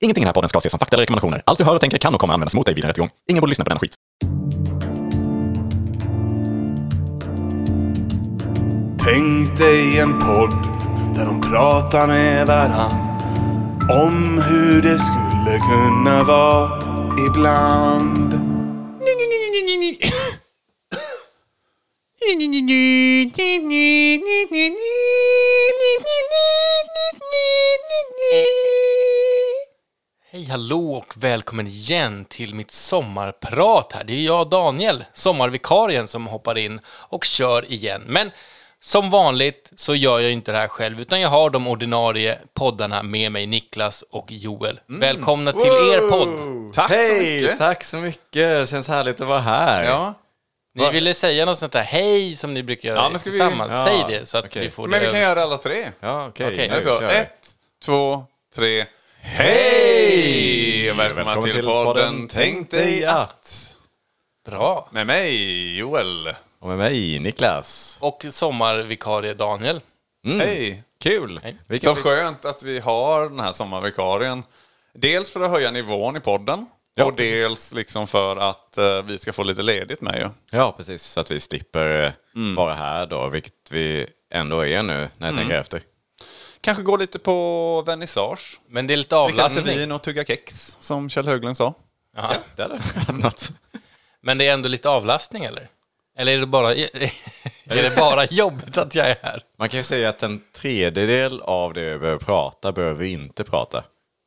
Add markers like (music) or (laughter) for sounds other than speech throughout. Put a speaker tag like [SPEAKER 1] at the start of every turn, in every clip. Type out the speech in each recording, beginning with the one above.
[SPEAKER 1] Ingenting i den här podden ska ses som fakta eller rekommendationer. Allt du hör och tänker kan och kommer användas mot dig vid en rättegång. Ingen borde lyssna på den skit.
[SPEAKER 2] Tänk dig en podd där de pratar med varann om hur det skulle kunna vara ibland.
[SPEAKER 3] Hej, hallå och välkommen igen till mitt sommarprat här. Det är jag, Daniel, sommarvikarien, som hoppar in och kör igen. Men som vanligt så gör jag inte det här själv, utan jag har de ordinarie poddarna med mig, Niklas och Joel. Välkomna till er podd!
[SPEAKER 4] Tack så
[SPEAKER 5] Hej!
[SPEAKER 4] mycket.
[SPEAKER 5] Tack så mycket! Känns härligt att vara här.
[SPEAKER 4] Ja,
[SPEAKER 3] Ni ville säga något sånt där hej som ni brukar göra
[SPEAKER 4] Ja, men ska vi-
[SPEAKER 3] tillsammans.
[SPEAKER 4] ja,
[SPEAKER 3] Säg det så att
[SPEAKER 5] okej.
[SPEAKER 3] vi får
[SPEAKER 4] men
[SPEAKER 3] det
[SPEAKER 4] vi kan
[SPEAKER 3] över-
[SPEAKER 4] göra alla tre.
[SPEAKER 5] ja okej.
[SPEAKER 3] Okej.
[SPEAKER 5] Nu
[SPEAKER 4] Alltså,
[SPEAKER 5] kör vi.
[SPEAKER 4] ett, två, tre. Hej! Välkomna till, podden Tänk dig att...
[SPEAKER 5] att.
[SPEAKER 3] Bra!
[SPEAKER 4] Med mig, Joel.
[SPEAKER 5] Och med mig, Niklas.
[SPEAKER 3] Och sommarvikarie Daniel.
[SPEAKER 5] Mm.
[SPEAKER 4] Hej!
[SPEAKER 5] Kul!
[SPEAKER 3] Hej.
[SPEAKER 4] Så
[SPEAKER 5] Vilken...
[SPEAKER 4] skönt att vi har den här sommarvikarien. Dels för att höja nivån i podden.
[SPEAKER 5] Ja,
[SPEAKER 4] och dels liksom för att eh, vi ska få lite ledigt med ju.
[SPEAKER 5] Ja, precis. Så att vi slipper eh,
[SPEAKER 4] Mm.
[SPEAKER 5] vara här då, vilket vi ändå är nu när jag tänker efter.
[SPEAKER 4] Kanske gå lite på vernissage.
[SPEAKER 3] Men det är lite
[SPEAKER 4] Dricka lite
[SPEAKER 3] avlastning.
[SPEAKER 4] vin och tugga kex, som Kjell Höglund sa.
[SPEAKER 3] Ja.
[SPEAKER 5] Det hade varit annat.
[SPEAKER 3] Men det är ändå lite avlastning eller? Eller är det bara, (laughs) är det
[SPEAKER 4] (laughs)
[SPEAKER 3] bara jobbigt att jag är här?
[SPEAKER 5] Man kan ju säga att en tredjedel av det vi behöver prata behöver vi inte prata.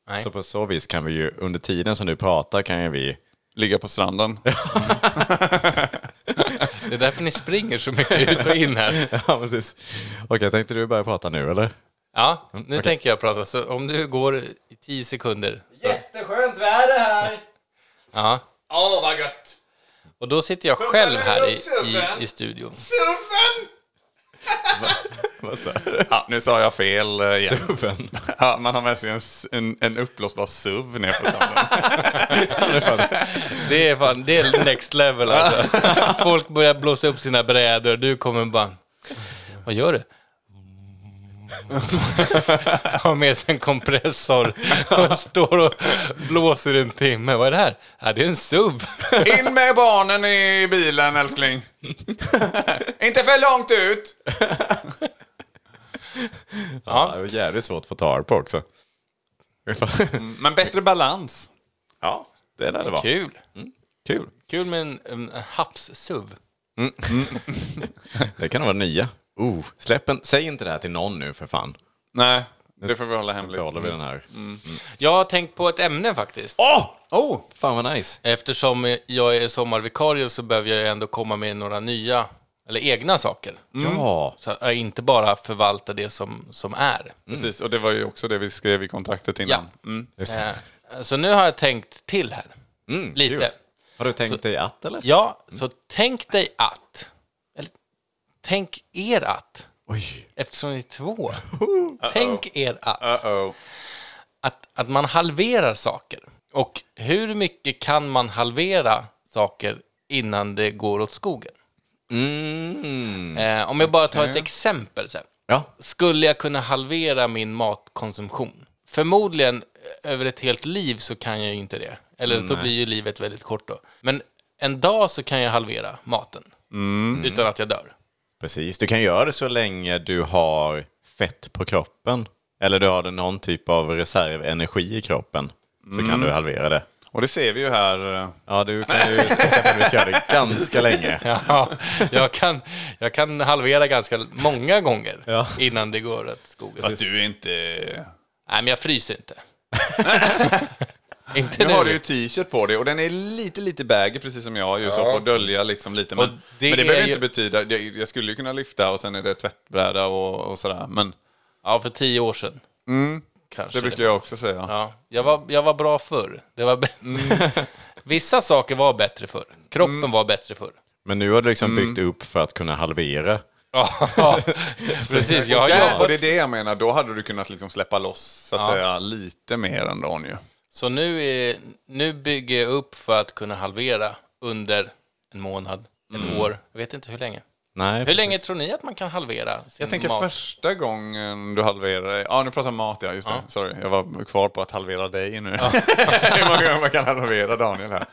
[SPEAKER 3] Nej.
[SPEAKER 5] Så på så vis kan vi ju, under tiden som du pratar kan ju vi
[SPEAKER 4] Ligga på stranden.
[SPEAKER 3] Det är därför ni springer så mycket ut och in här.
[SPEAKER 5] (laughs) Ja, precis. Okej, tänkte du börja prata nu eller?
[SPEAKER 3] Ja, nu tänker jag prata. Så om du går i tio sekunder.
[SPEAKER 5] Jätteskönt väder här!
[SPEAKER 3] Ja.
[SPEAKER 4] Åh, vad gött!
[SPEAKER 3] Och då sitter jag själv här i, i, i studion.
[SPEAKER 4] Suven!
[SPEAKER 5] Vad sa du?
[SPEAKER 4] Ja, nu sa jag fel eh, igen.
[SPEAKER 5] Suven.
[SPEAKER 4] Ja, man har med sig en, s- en, en uppblåsbar SUV ner på stranden.
[SPEAKER 3] Det är fan, det är next level
[SPEAKER 4] (laughs)
[SPEAKER 3] alltså. Folk börjar blåsa upp sina brädor, du kommer bara... Vad gör du? (laughs) Har med sig en kompressor och står och blåser en timme. Vad är det här? Ja, det är en SUV.
[SPEAKER 4] In med barnen i bilen älskling. (laughs) Inte för långt ut.
[SPEAKER 5] Ja, det var jävligt svårt att få tag på också.
[SPEAKER 4] Mm, Men bättre balans.
[SPEAKER 5] Ja, det där det var.
[SPEAKER 3] Kul.
[SPEAKER 5] Kul.
[SPEAKER 3] Kul med en, en havs-SUV.
[SPEAKER 5] Det kan nog vara nya. Oh, släpp en, säg inte det här till någon nu för fan.
[SPEAKER 4] Nej, det får vi hålla
[SPEAKER 5] Då håller
[SPEAKER 4] hemligt. Mm.
[SPEAKER 5] vi den här.
[SPEAKER 3] Jag har tänkt på ett ämne faktiskt.
[SPEAKER 4] Åh! Oh!
[SPEAKER 5] Fan vad nice.
[SPEAKER 3] Eftersom jag är sommarvikarie så behöver jag ju ändå komma med några nya, eller egna saker.
[SPEAKER 4] Mm.
[SPEAKER 5] Ja.
[SPEAKER 3] Så att jag inte bara förvalta det som, som är.
[SPEAKER 4] Precis, och det var ju också det vi skrev i kontraktet innan. Mm.
[SPEAKER 3] Eh, Så nu har jag tänkt till här. Lite.
[SPEAKER 5] Mm, kul. Har du tänkt dig att eller?
[SPEAKER 3] Ja, så tänk dig att... Eller, tänk er att,
[SPEAKER 5] Oj. Uh.
[SPEAKER 3] eftersom ni är
[SPEAKER 5] (laughs)
[SPEAKER 3] två. Tänk er att,
[SPEAKER 4] Uh-oh.
[SPEAKER 3] att... Att man halverar saker. Och hur mycket kan man halvera saker innan det går åt skogen?
[SPEAKER 5] Mm.
[SPEAKER 3] Eh, om jag bara tar ett exempel. Så här.
[SPEAKER 5] Ja.
[SPEAKER 3] Skulle jag kunna halvera min matkonsumtion? Förmodligen eh, över ett helt liv så kan jag ju inte det. Eller så blir ju livet väldigt kort då. Men en dag så kan jag halvera maten
[SPEAKER 4] Mm.
[SPEAKER 3] utan att jag dör.
[SPEAKER 5] Precis, du kan göra det så länge du har fett på kroppen. Eller du har det någon typ av reservenergi i kroppen. Så kan du halvera det.
[SPEAKER 4] Mm. Och det ser vi ju här. eh,
[SPEAKER 5] Ja, du kan
[SPEAKER 4] (laughs)
[SPEAKER 5] ju exempelvis göra det ganska länge.
[SPEAKER 3] (laughs) Ja, jag, kan, jag kan halvera ganska många gånger
[SPEAKER 5] Ja.
[SPEAKER 3] innan det går åt skogen.
[SPEAKER 4] Fast du är inte...
[SPEAKER 3] Nej, men jag fryser
[SPEAKER 4] (laughs)
[SPEAKER 3] inte. (laughs) inte
[SPEAKER 4] Nu
[SPEAKER 3] nu.
[SPEAKER 4] har du ju t-shirt på dig och den är lite, lite baggy precis som jag har ju, så får dölja liksom lite.
[SPEAKER 3] Och
[SPEAKER 4] Men
[SPEAKER 3] det
[SPEAKER 4] det, men det
[SPEAKER 3] är
[SPEAKER 4] behöver
[SPEAKER 3] ju-
[SPEAKER 4] inte betyda, jag, jag skulle ju kunna lyfta och sen är det tvättbräda och, och sådär. Men
[SPEAKER 3] Ja, för tio år sedan. Kanske
[SPEAKER 4] Mm. det brukar jag också säga.
[SPEAKER 3] Ja, jag var, jag var bra förr. Det var bä-
[SPEAKER 2] Mm.
[SPEAKER 3] (laughs) Vissa saker var bättre förr. Kroppen var bättre förr.
[SPEAKER 5] Men nu har du
[SPEAKER 4] Mm.
[SPEAKER 5] liksom byggt upp för att kunna halvera.
[SPEAKER 3] (laughs) Ja, precis. Jag har
[SPEAKER 4] Ja, och
[SPEAKER 3] jobbat.
[SPEAKER 4] det är det jag menar, då hade du kunnat liksom släppa loss så att
[SPEAKER 3] Ja.
[SPEAKER 4] säga lite mer än dagen ju.
[SPEAKER 3] Så nu, är, nu bygger
[SPEAKER 2] Mm.
[SPEAKER 3] jag upp för att kunna halvera under en månad, ett år. Jag vet inte hur länge.
[SPEAKER 5] Nej,
[SPEAKER 3] Hur länge tror ni att man kan halvera sin
[SPEAKER 2] Jag tänker
[SPEAKER 3] mat?
[SPEAKER 2] första gången du halverade... Ja, nu pratar jag mat, ja. Just det. Sorry, jag var kvar på att halvera dig nu.
[SPEAKER 5] (laughs)
[SPEAKER 2] Hur många gånger man kan halvera Daniel här.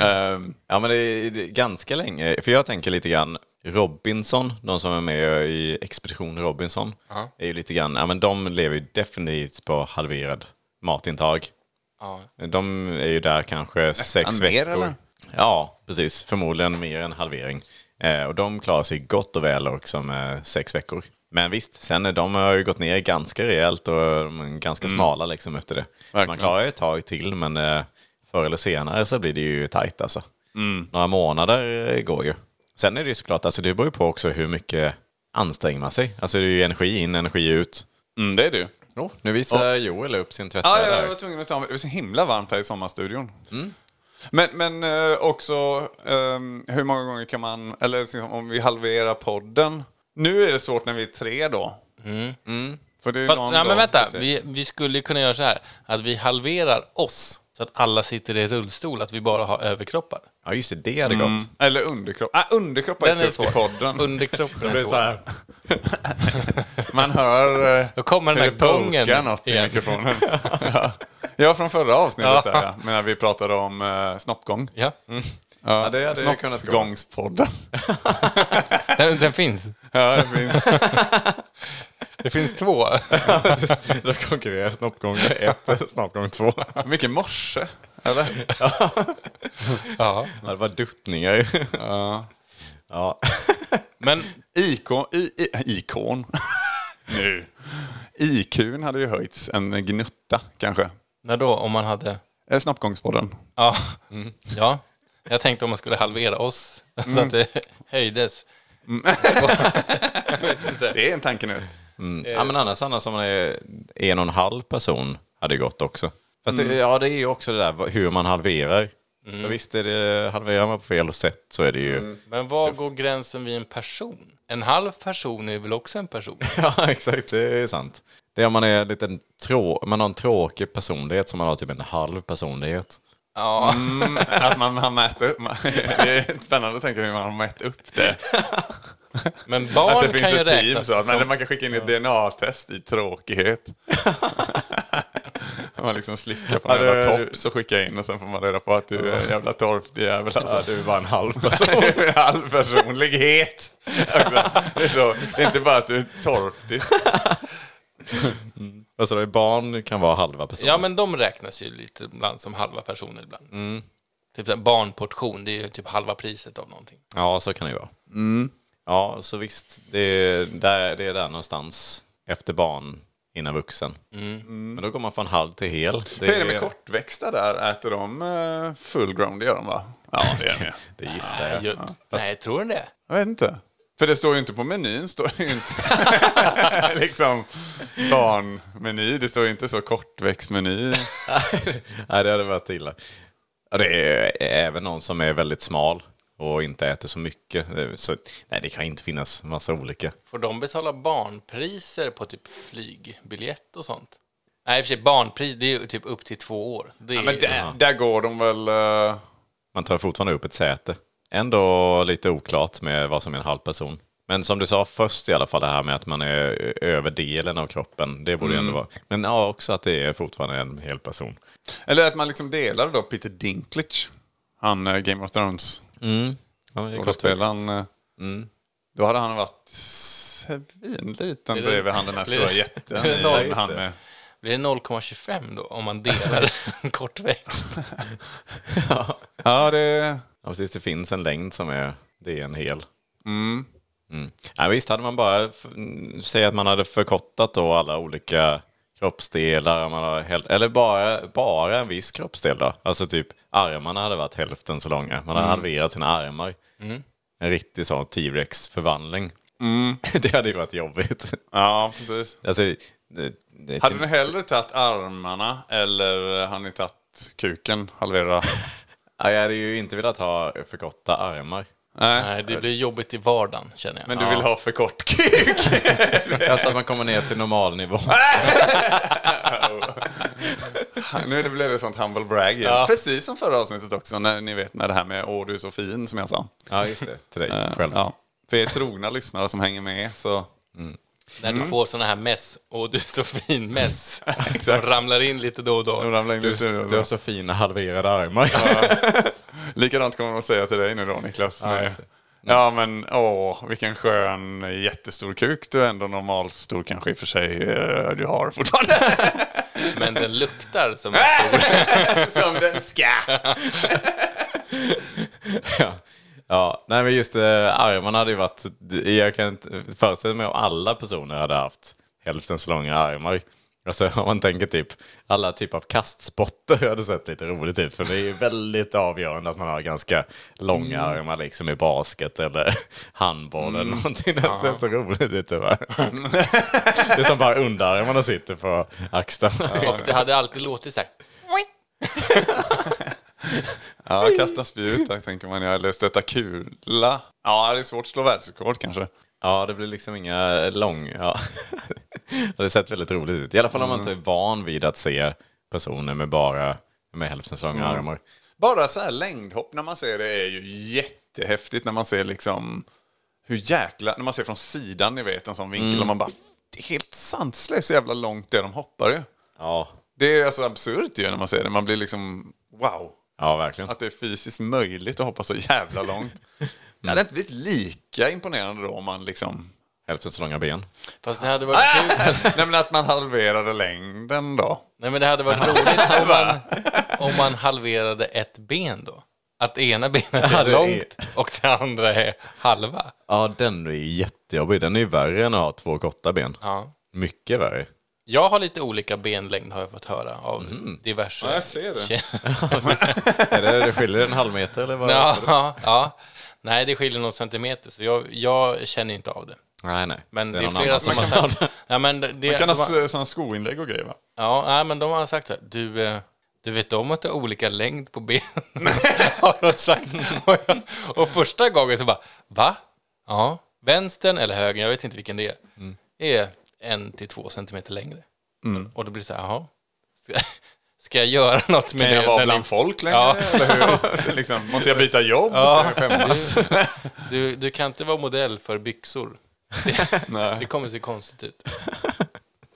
[SPEAKER 2] Ehm,
[SPEAKER 5] Ja, men det är, det är ganska länge. För jag tänker lite grann Robinson, de som är med i Expedition Robinson, är ju lite grann, ja men de lever ju definitivt på halverad matintag.
[SPEAKER 3] Ja.
[SPEAKER 5] De är ju där kanske sex
[SPEAKER 2] mer,
[SPEAKER 5] veckor.
[SPEAKER 2] eller?
[SPEAKER 5] Ja, precis. Förmodligen mer än halvering. Eh, och de klarar sig gott och väl också med sex veckor. Men visst, sen är de har ju gått ner ganska rejält och de är ganska smala liksom efter det. Så man
[SPEAKER 2] Mm. Verkligen.
[SPEAKER 5] klarar ju ett tag till, men eh, förr eller senare så blir det ju tajt alltså.
[SPEAKER 2] Mm.
[SPEAKER 5] Några månader eh, går ju. Sen är det ju såklart, alltså det beror ju på också hur mycket anstränger man sig. Alltså det är ju energi in, energi ut.
[SPEAKER 2] mm, det är du.
[SPEAKER 5] Oh, nu visar Joel upp sin
[SPEAKER 2] Ja,
[SPEAKER 5] tvättare
[SPEAKER 2] ja, jag
[SPEAKER 5] där.
[SPEAKER 2] var tvungen att ta mig. Det var så himla varmt här i sommarstudion. Men, men eh, också ehm, hur många gånger kan man, eller liksom, om vi halverar podden. Nu är det svårt när vi är tre då. Mm. För det är
[SPEAKER 3] Fast,
[SPEAKER 2] någon
[SPEAKER 3] nej,
[SPEAKER 2] dag-
[SPEAKER 3] men vänta,
[SPEAKER 2] Just det.
[SPEAKER 3] vi, vi skulle ju kunna göra så här att vi halverar oss så att alla sitter i rullstol, att vi bara har överkroppar.
[SPEAKER 5] Ja, just det, det hade gått.
[SPEAKER 2] Eller underkropp. Ah, underkropp är
[SPEAKER 3] Den är
[SPEAKER 2] tufft i
[SPEAKER 3] svår.
[SPEAKER 2] podden.
[SPEAKER 3] Underkroppen
[SPEAKER 2] Mm. Det
[SPEAKER 3] är
[SPEAKER 2] är så
[SPEAKER 3] svår.
[SPEAKER 2] här. (laughs) Man hör eh,
[SPEAKER 3] Då kommer den
[SPEAKER 2] hur
[SPEAKER 3] här
[SPEAKER 2] det
[SPEAKER 3] gången
[SPEAKER 2] bulkar något i
[SPEAKER 3] igen.
[SPEAKER 2] mikrofonen. (laughs) ja. ja, från förra avsnittet
[SPEAKER 3] Ja.
[SPEAKER 2] där, ja. Men när vi pratade om eh, snoppgång.
[SPEAKER 3] Ja,
[SPEAKER 2] Ja,
[SPEAKER 5] det hade ju kunnat gå.
[SPEAKER 2] Snoppgångspodden.
[SPEAKER 3] den, den finns.
[SPEAKER 2] ja, det finns.
[SPEAKER 3] (laughs) Det finns två.
[SPEAKER 5] Då konkurrerar snoppgång 1, snoppgång 2.
[SPEAKER 2] Mycket morse, eller?
[SPEAKER 3] Ja.
[SPEAKER 5] Det var duttningar ju.
[SPEAKER 2] Ja.
[SPEAKER 5] Ja.
[SPEAKER 3] Men
[SPEAKER 2] Ikon, i, i, ikon. (laughs) nu. IQn hade ju höjts en gnutta, kanske.
[SPEAKER 3] när då, om man hade...
[SPEAKER 2] Eh, Snoppgångspodden.
[SPEAKER 3] Ja.
[SPEAKER 2] Mm.
[SPEAKER 3] ja. Jag tänkte om man skulle halvera oss så att det höjdes.
[SPEAKER 2] Det är en tanke nu.
[SPEAKER 5] ja, men annars, annars om man är en och en halv person hade ju gått också. Fast det, ja, det är ju också det där vad- hur man halverar. För visst, är det, halverar man på fel sätt så är det ju...
[SPEAKER 3] Men var går gränsen vid en person? En halv person är väl också en person?
[SPEAKER 5] (laughs) Ja, exakt. Det är sant. Det är om man är lite trå... man har en tråkig personlighet som man har typ en halv personlighet.
[SPEAKER 3] Ja.
[SPEAKER 2] Mm, att man har mätt upp. man- Det är spännande att tänka hur man har mätt upp det.
[SPEAKER 3] Men
[SPEAKER 2] Att det
[SPEAKER 3] barn
[SPEAKER 2] finns
[SPEAKER 3] kan ju
[SPEAKER 2] ett team
[SPEAKER 3] räknas
[SPEAKER 2] så. att- Men
[SPEAKER 3] som...
[SPEAKER 2] man kan skicka in ett DNA-test i tråkighet. man liksom slickar på en
[SPEAKER 5] Ja, det-
[SPEAKER 2] jävla tops och skickar in och sen får man reda på att du är en jävla torpjävel. Alltså.
[SPEAKER 5] du var en halv (laughs)
[SPEAKER 2] Person. All personlighet. Också. Det är, så. det är inte bara att du är torftig.
[SPEAKER 5] alltså, det är barn kan vara halva personer.
[SPEAKER 3] Ja, men de räknas ju lite ibland som halva personer ibland. Typ så här barnportion, det är ju typ halva priset av någonting.
[SPEAKER 5] Ja, så kan det ju vara.
[SPEAKER 2] Mm.
[SPEAKER 5] Ja, så visst, det är, där, det är där någonstans efter barn innan vuxen. Men då går man från halv till hel.
[SPEAKER 2] Mm. Hur är det med kortväxta där? Äter de eh, full ground? Det gör de va? Ja, det gör de ju.
[SPEAKER 5] (laughs) Det gissar jag.
[SPEAKER 3] Ju- Nej, tror du det?
[SPEAKER 2] Jag vet inte. För det står ju inte på menyn. Står det ju inte. (laughs) liksom barnmeny. Det står ju inte så kortväxtmeny.
[SPEAKER 5] (laughs) Nej, det hade varit illa. Ja, det är även någon som är väldigt smal och inte äter så mycket. Så, nej, det kan inte finnas massa olika.
[SPEAKER 3] Får de betala barnpriser på typ flygbiljett och sånt? Nej, i och för sig barnpris, det är ju typ upp till två år. Det är,
[SPEAKER 2] Men där, där går de väl... eh,
[SPEAKER 5] Man tar fortfarande upp ett säte. Ändå lite oklart med vad som är en halv person. Men som du sa först i alla fall, det här med att man är över delen av kroppen. Det borde ju ändå vara. Men ja, också att det är fortfarande en hel person.
[SPEAKER 2] eller att man liksom delar då Peter Dinklage. Han eh, Game of Thrones. Skådespelaren. Mm. Då hade han varit svinliten
[SPEAKER 3] det-
[SPEAKER 2] bredvid han den här
[SPEAKER 3] blir
[SPEAKER 2] stora
[SPEAKER 3] det-
[SPEAKER 2] jätten.
[SPEAKER 3] blir det
[SPEAKER 2] i-
[SPEAKER 3] noll?
[SPEAKER 2] han med-
[SPEAKER 3] Blir det 0,25 då om man delar en kortväxt?
[SPEAKER 2] Ja, det...
[SPEAKER 5] Ja, precis. Det finns en längd som är, det är en hel. Mm. Ja, visst, hade man bara, f- mm, säg att man hade förkortat då alla olika kroppsdelar, man har häl- eller bara, bara en viss kroppsdel då. Alltså typ armarna hade varit hälften så långa. Man hade halverat sina armar. En riktig sån T-rex-förvandling. (laughs) det hade ju varit jobbigt.
[SPEAKER 2] Ja, precis.
[SPEAKER 5] Alltså, det, det, typ-
[SPEAKER 2] Hade du hellre tagit armarna eller eh, hade ni tagit kuken? Halvera?
[SPEAKER 5] ja, jag hade ju inte velat ha förkorta armar.
[SPEAKER 2] Nej.
[SPEAKER 3] Nej, det blir jobbigt i vardagen känner jag.
[SPEAKER 2] Men du vill ha för kort (laughs) kuk?
[SPEAKER 5] Alltså att man kommer ner till normalnivå.
[SPEAKER 2] nu blev det sånt humble brag igen.
[SPEAKER 3] Ja.
[SPEAKER 2] Precis som förra avsnittet också, när ni vet när det här med åh du är så fin som jag sa.
[SPEAKER 5] Ja, just det. Till dig själv.
[SPEAKER 2] Ja.
[SPEAKER 4] För er trogna lyssnare som hänger med så...
[SPEAKER 3] När du får såna här mess och du är så fin mess. som ramlar in lite då och då.
[SPEAKER 4] Du,
[SPEAKER 5] Du har så fina halverade armar.
[SPEAKER 4] Likadant kommer de att säga till dig nu då Niklas.
[SPEAKER 5] Ja,
[SPEAKER 4] med-
[SPEAKER 5] just det.
[SPEAKER 4] Ja men åh, vilken skön jättestor kuk du är ändå normalstor kanske i och för sig eh, du har fortfarande.
[SPEAKER 3] Men den luktar som...
[SPEAKER 4] Som den ska.
[SPEAKER 5] ja. (laughs) ja, nej men just eh, armarna hade ju varit... Jag kan inte föreställa mig om alla personer hade haft hälften så långa armar. Alltså om man tänker typ alla typer av kastspotter hade sett lite roligt ut. För det är ju väldigt avgörande att man har ganska långa
[SPEAKER 4] Mm.
[SPEAKER 5] armar liksom i basket eller (laughs) handboll eller någonting. Det hade sett så roligt ut
[SPEAKER 4] (laughs)
[SPEAKER 5] tyvärr. det är som bara underarmarna sitter på axlarna.
[SPEAKER 3] Och det hade alltid låtit så här.
[SPEAKER 4] Ja, kasta spjut där, tänker man. Eller stöta kula. Ja, det är svårt att slå världsrekord kanske.
[SPEAKER 5] Ja, det blir liksom inga lång...
[SPEAKER 4] (laughs)
[SPEAKER 5] Ja. det har sett väldigt roligt ut. I alla fall om man inte är van vid att se personer med bara med hälften så långa armar.
[SPEAKER 4] Bara så här längdhopp när man ser det är ju jättehäftigt när man ser liksom hur jäkla, när man ser från sidan ni vet en sån vinkel
[SPEAKER 5] Mm.
[SPEAKER 4] och man bara det är helt sanslöst så jävla långt det de hoppar ju.
[SPEAKER 5] Ja,
[SPEAKER 4] Det är alltså absurt ju när man ser det. Man blir liksom wow.
[SPEAKER 5] ja verkligen.
[SPEAKER 4] Att det är fysiskt möjligt att hoppa så jävla långt. Det hade inte blivit lika imponerande då om man liksom...
[SPEAKER 5] Hälften så långa ben.
[SPEAKER 3] Fast det hade varit kul.
[SPEAKER 4] Nej men att man halverade längden då.
[SPEAKER 3] Nej men det hade varit roligt om man, om man halverade ett ben då. Att ena benet
[SPEAKER 5] Ja,
[SPEAKER 3] är
[SPEAKER 5] det är-
[SPEAKER 3] långt och det andra är halva.
[SPEAKER 5] Ja, den är ju jättejobbig. Den är ju värre än att ha två korta ben.
[SPEAKER 3] Ja.
[SPEAKER 5] Mycket värre.
[SPEAKER 3] Jag har lite olika benlängd har jag fått höra av diverse...
[SPEAKER 4] jag ser det.
[SPEAKER 5] är det, det skiljer en halv meter eller vad?
[SPEAKER 3] Ja, ja, ja. Nej, det skiljer någon centimeter så jag, jag känner inte av det.
[SPEAKER 5] Nej, nej.
[SPEAKER 3] Men det är,
[SPEAKER 5] någon
[SPEAKER 3] flera
[SPEAKER 5] annan
[SPEAKER 3] som har
[SPEAKER 5] kan
[SPEAKER 3] sagt... Ja, men det, det,
[SPEAKER 4] Man kan ha
[SPEAKER 3] de har-
[SPEAKER 4] så- såna skoinlägg och grejer va?
[SPEAKER 3] Ja, nej, men de har sagt så här, du, eh, du vet om att du har olika längd på benen?
[SPEAKER 4] (laughs)
[SPEAKER 3] (laughs) har de sagt. (laughs) Och, jag, och första gången så bara, va? Ja, vänstern eller höger, jag vet inte vilken det är,
[SPEAKER 4] Mm.
[SPEAKER 3] är en till två centimeter längre. Och då blir det så här, jaha, ska, ska jag göra något med
[SPEAKER 4] Kan
[SPEAKER 3] det?
[SPEAKER 4] jag vara
[SPEAKER 3] när
[SPEAKER 5] liksom-
[SPEAKER 4] bland
[SPEAKER 3] ni-
[SPEAKER 4] folk längre?
[SPEAKER 3] Ja.
[SPEAKER 4] Eller hur? (laughs) liksom, måste jag byta jobb?
[SPEAKER 3] Ja,
[SPEAKER 4] Ska jag skämmas?
[SPEAKER 3] du, du kan inte vara modell för
[SPEAKER 4] (laughs)
[SPEAKER 3] byxor. Det kommer se konstigt ut.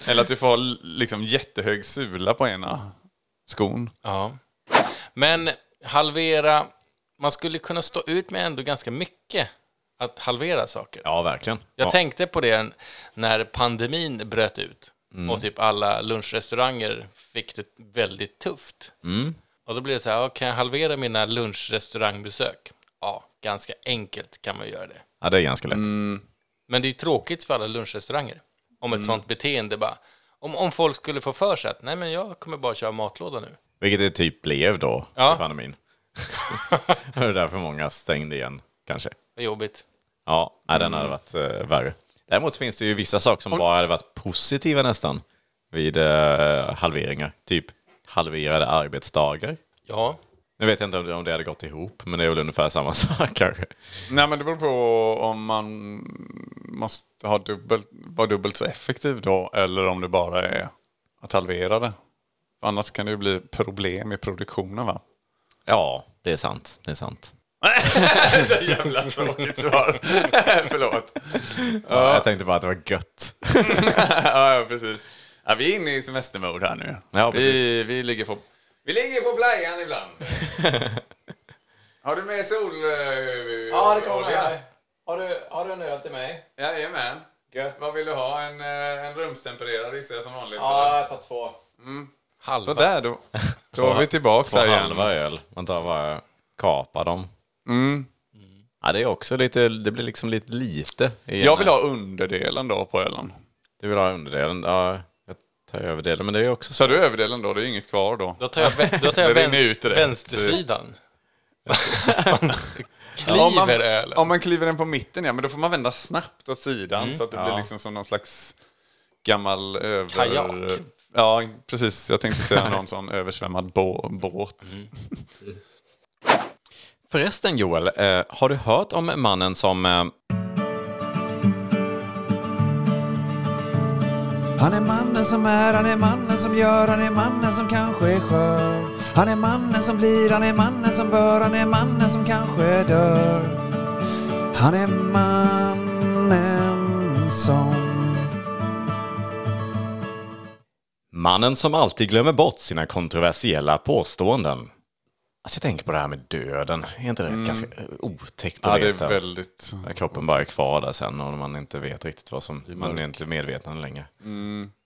[SPEAKER 4] Eller att du får ha l- liksom, jättehög sula på ena skon.
[SPEAKER 3] Ja. Men halvera, man skulle kunna stå ut med ändå ganska mycket att halvera saker.
[SPEAKER 5] Ja, verkligen.
[SPEAKER 3] Jag
[SPEAKER 5] ja.
[SPEAKER 3] tänkte på det när pandemin bröt ut och typ alla lunchrestauranger fick det väldigt tufft. Och då blir det så här, ja, kan jag halvera mina lunchrestaurangbesök? Ja, ganska enkelt kan man ju göra det.
[SPEAKER 5] ja, det är ganska lätt.
[SPEAKER 4] Mm.
[SPEAKER 3] Men det är ju tråkigt för alla lunchrestauranger om ett sånt beteende bara. Om, om folk skulle få för sig att nej men jag kommer bara köra matlåda nu.
[SPEAKER 5] Vilket det typ blev då
[SPEAKER 3] Ja.
[SPEAKER 5] i pandemin. (laughs) det är därför många stängde igen, kanske.
[SPEAKER 3] Vad jobbigt.
[SPEAKER 5] Ja, nej, den hade varit eh, värre. Däremot finns det ju vissa saker som bara hade varit positiva nästan vid eh, halveringar. Typ halverade arbetsdagar.
[SPEAKER 3] Ja,
[SPEAKER 5] Nu vet jag inte om det, om det hade gått ihop, men det är väl ungefär samma (laughs) sak kanske.
[SPEAKER 4] Nej men det beror på om man måste ha dubbelt, vara dubbelt så effektiv då eller om det bara är att halvera det. Annars kan det ju bli problem i produktionen va?
[SPEAKER 5] Ja, det är sant. Det är sant.
[SPEAKER 4] Jävla tråkigt svar. Förlåt.
[SPEAKER 5] Ja. Jag tänkte bara att det var gött.
[SPEAKER 4] ja, ja, precis. Ja, vi är inne i semestermode här nu.
[SPEAKER 5] Ja,
[SPEAKER 4] vi, vi, ligger på, vi ligger på playan
[SPEAKER 5] (laughs)
[SPEAKER 4] ibland. har du med sol? eh, Ja, det kommer här.
[SPEAKER 5] Har du, har du en öl till mig?
[SPEAKER 4] Jajamän. Vad vill du ha? En, eh, en rumstempererad gissar jag som vanligt? eller? Mm.
[SPEAKER 5] jag tar två.
[SPEAKER 3] halva.
[SPEAKER 4] Sådär då. Då är vi tillbaka
[SPEAKER 5] Två
[SPEAKER 4] här igen.
[SPEAKER 5] halva öl. Man tar bara kapar dem. Mm. Ja, det är också lite, det blir liksom lite lite. i
[SPEAKER 4] Jag
[SPEAKER 5] en-
[SPEAKER 4] vill ha underdelen då på ölen.
[SPEAKER 5] Du vill ha underdelen? Ja, jag tar över delen. Men det är ju också så.
[SPEAKER 4] Så du överdelen då? Det är ju inget kvar då.
[SPEAKER 3] Då tar jag, vä- då tar jag
[SPEAKER 4] Det
[SPEAKER 3] vän,
[SPEAKER 4] rinner ut direkt.
[SPEAKER 3] vänstersidan.
[SPEAKER 4] Om man,
[SPEAKER 3] Kliver ölen.
[SPEAKER 4] om man kliver den på mitten ja, men då får man vända snabbt åt sidan
[SPEAKER 5] Mm.
[SPEAKER 4] så att det blir liksom som någon slags gammal över...
[SPEAKER 3] Kajak.
[SPEAKER 4] Ja, precis. Jag
[SPEAKER 5] (laughs)
[SPEAKER 4] tänkte säga någon sån översvämmad bå- båt.
[SPEAKER 5] Mm. Förresten Joel, eh, har du hört om mannen som... Eh,
[SPEAKER 6] Han är mannen som är, han är mannen som gör, han är mannen som kanske är skör. Han är mannen som blir, han är mannen som bör, han är mannen som kanske dör. Han är mannen som...
[SPEAKER 5] Mannen som alltid glömmer bort sina kontroversiella påståenden. Alltså jag tänker på det här med döden. Är inte det ett ganska eh, otäckt att
[SPEAKER 4] Mm. Ja, det
[SPEAKER 5] veta?
[SPEAKER 4] är väldigt...
[SPEAKER 5] När kroppen bara är kvar där sen och man inte vet riktigt vad som... Man är inte medveten längre.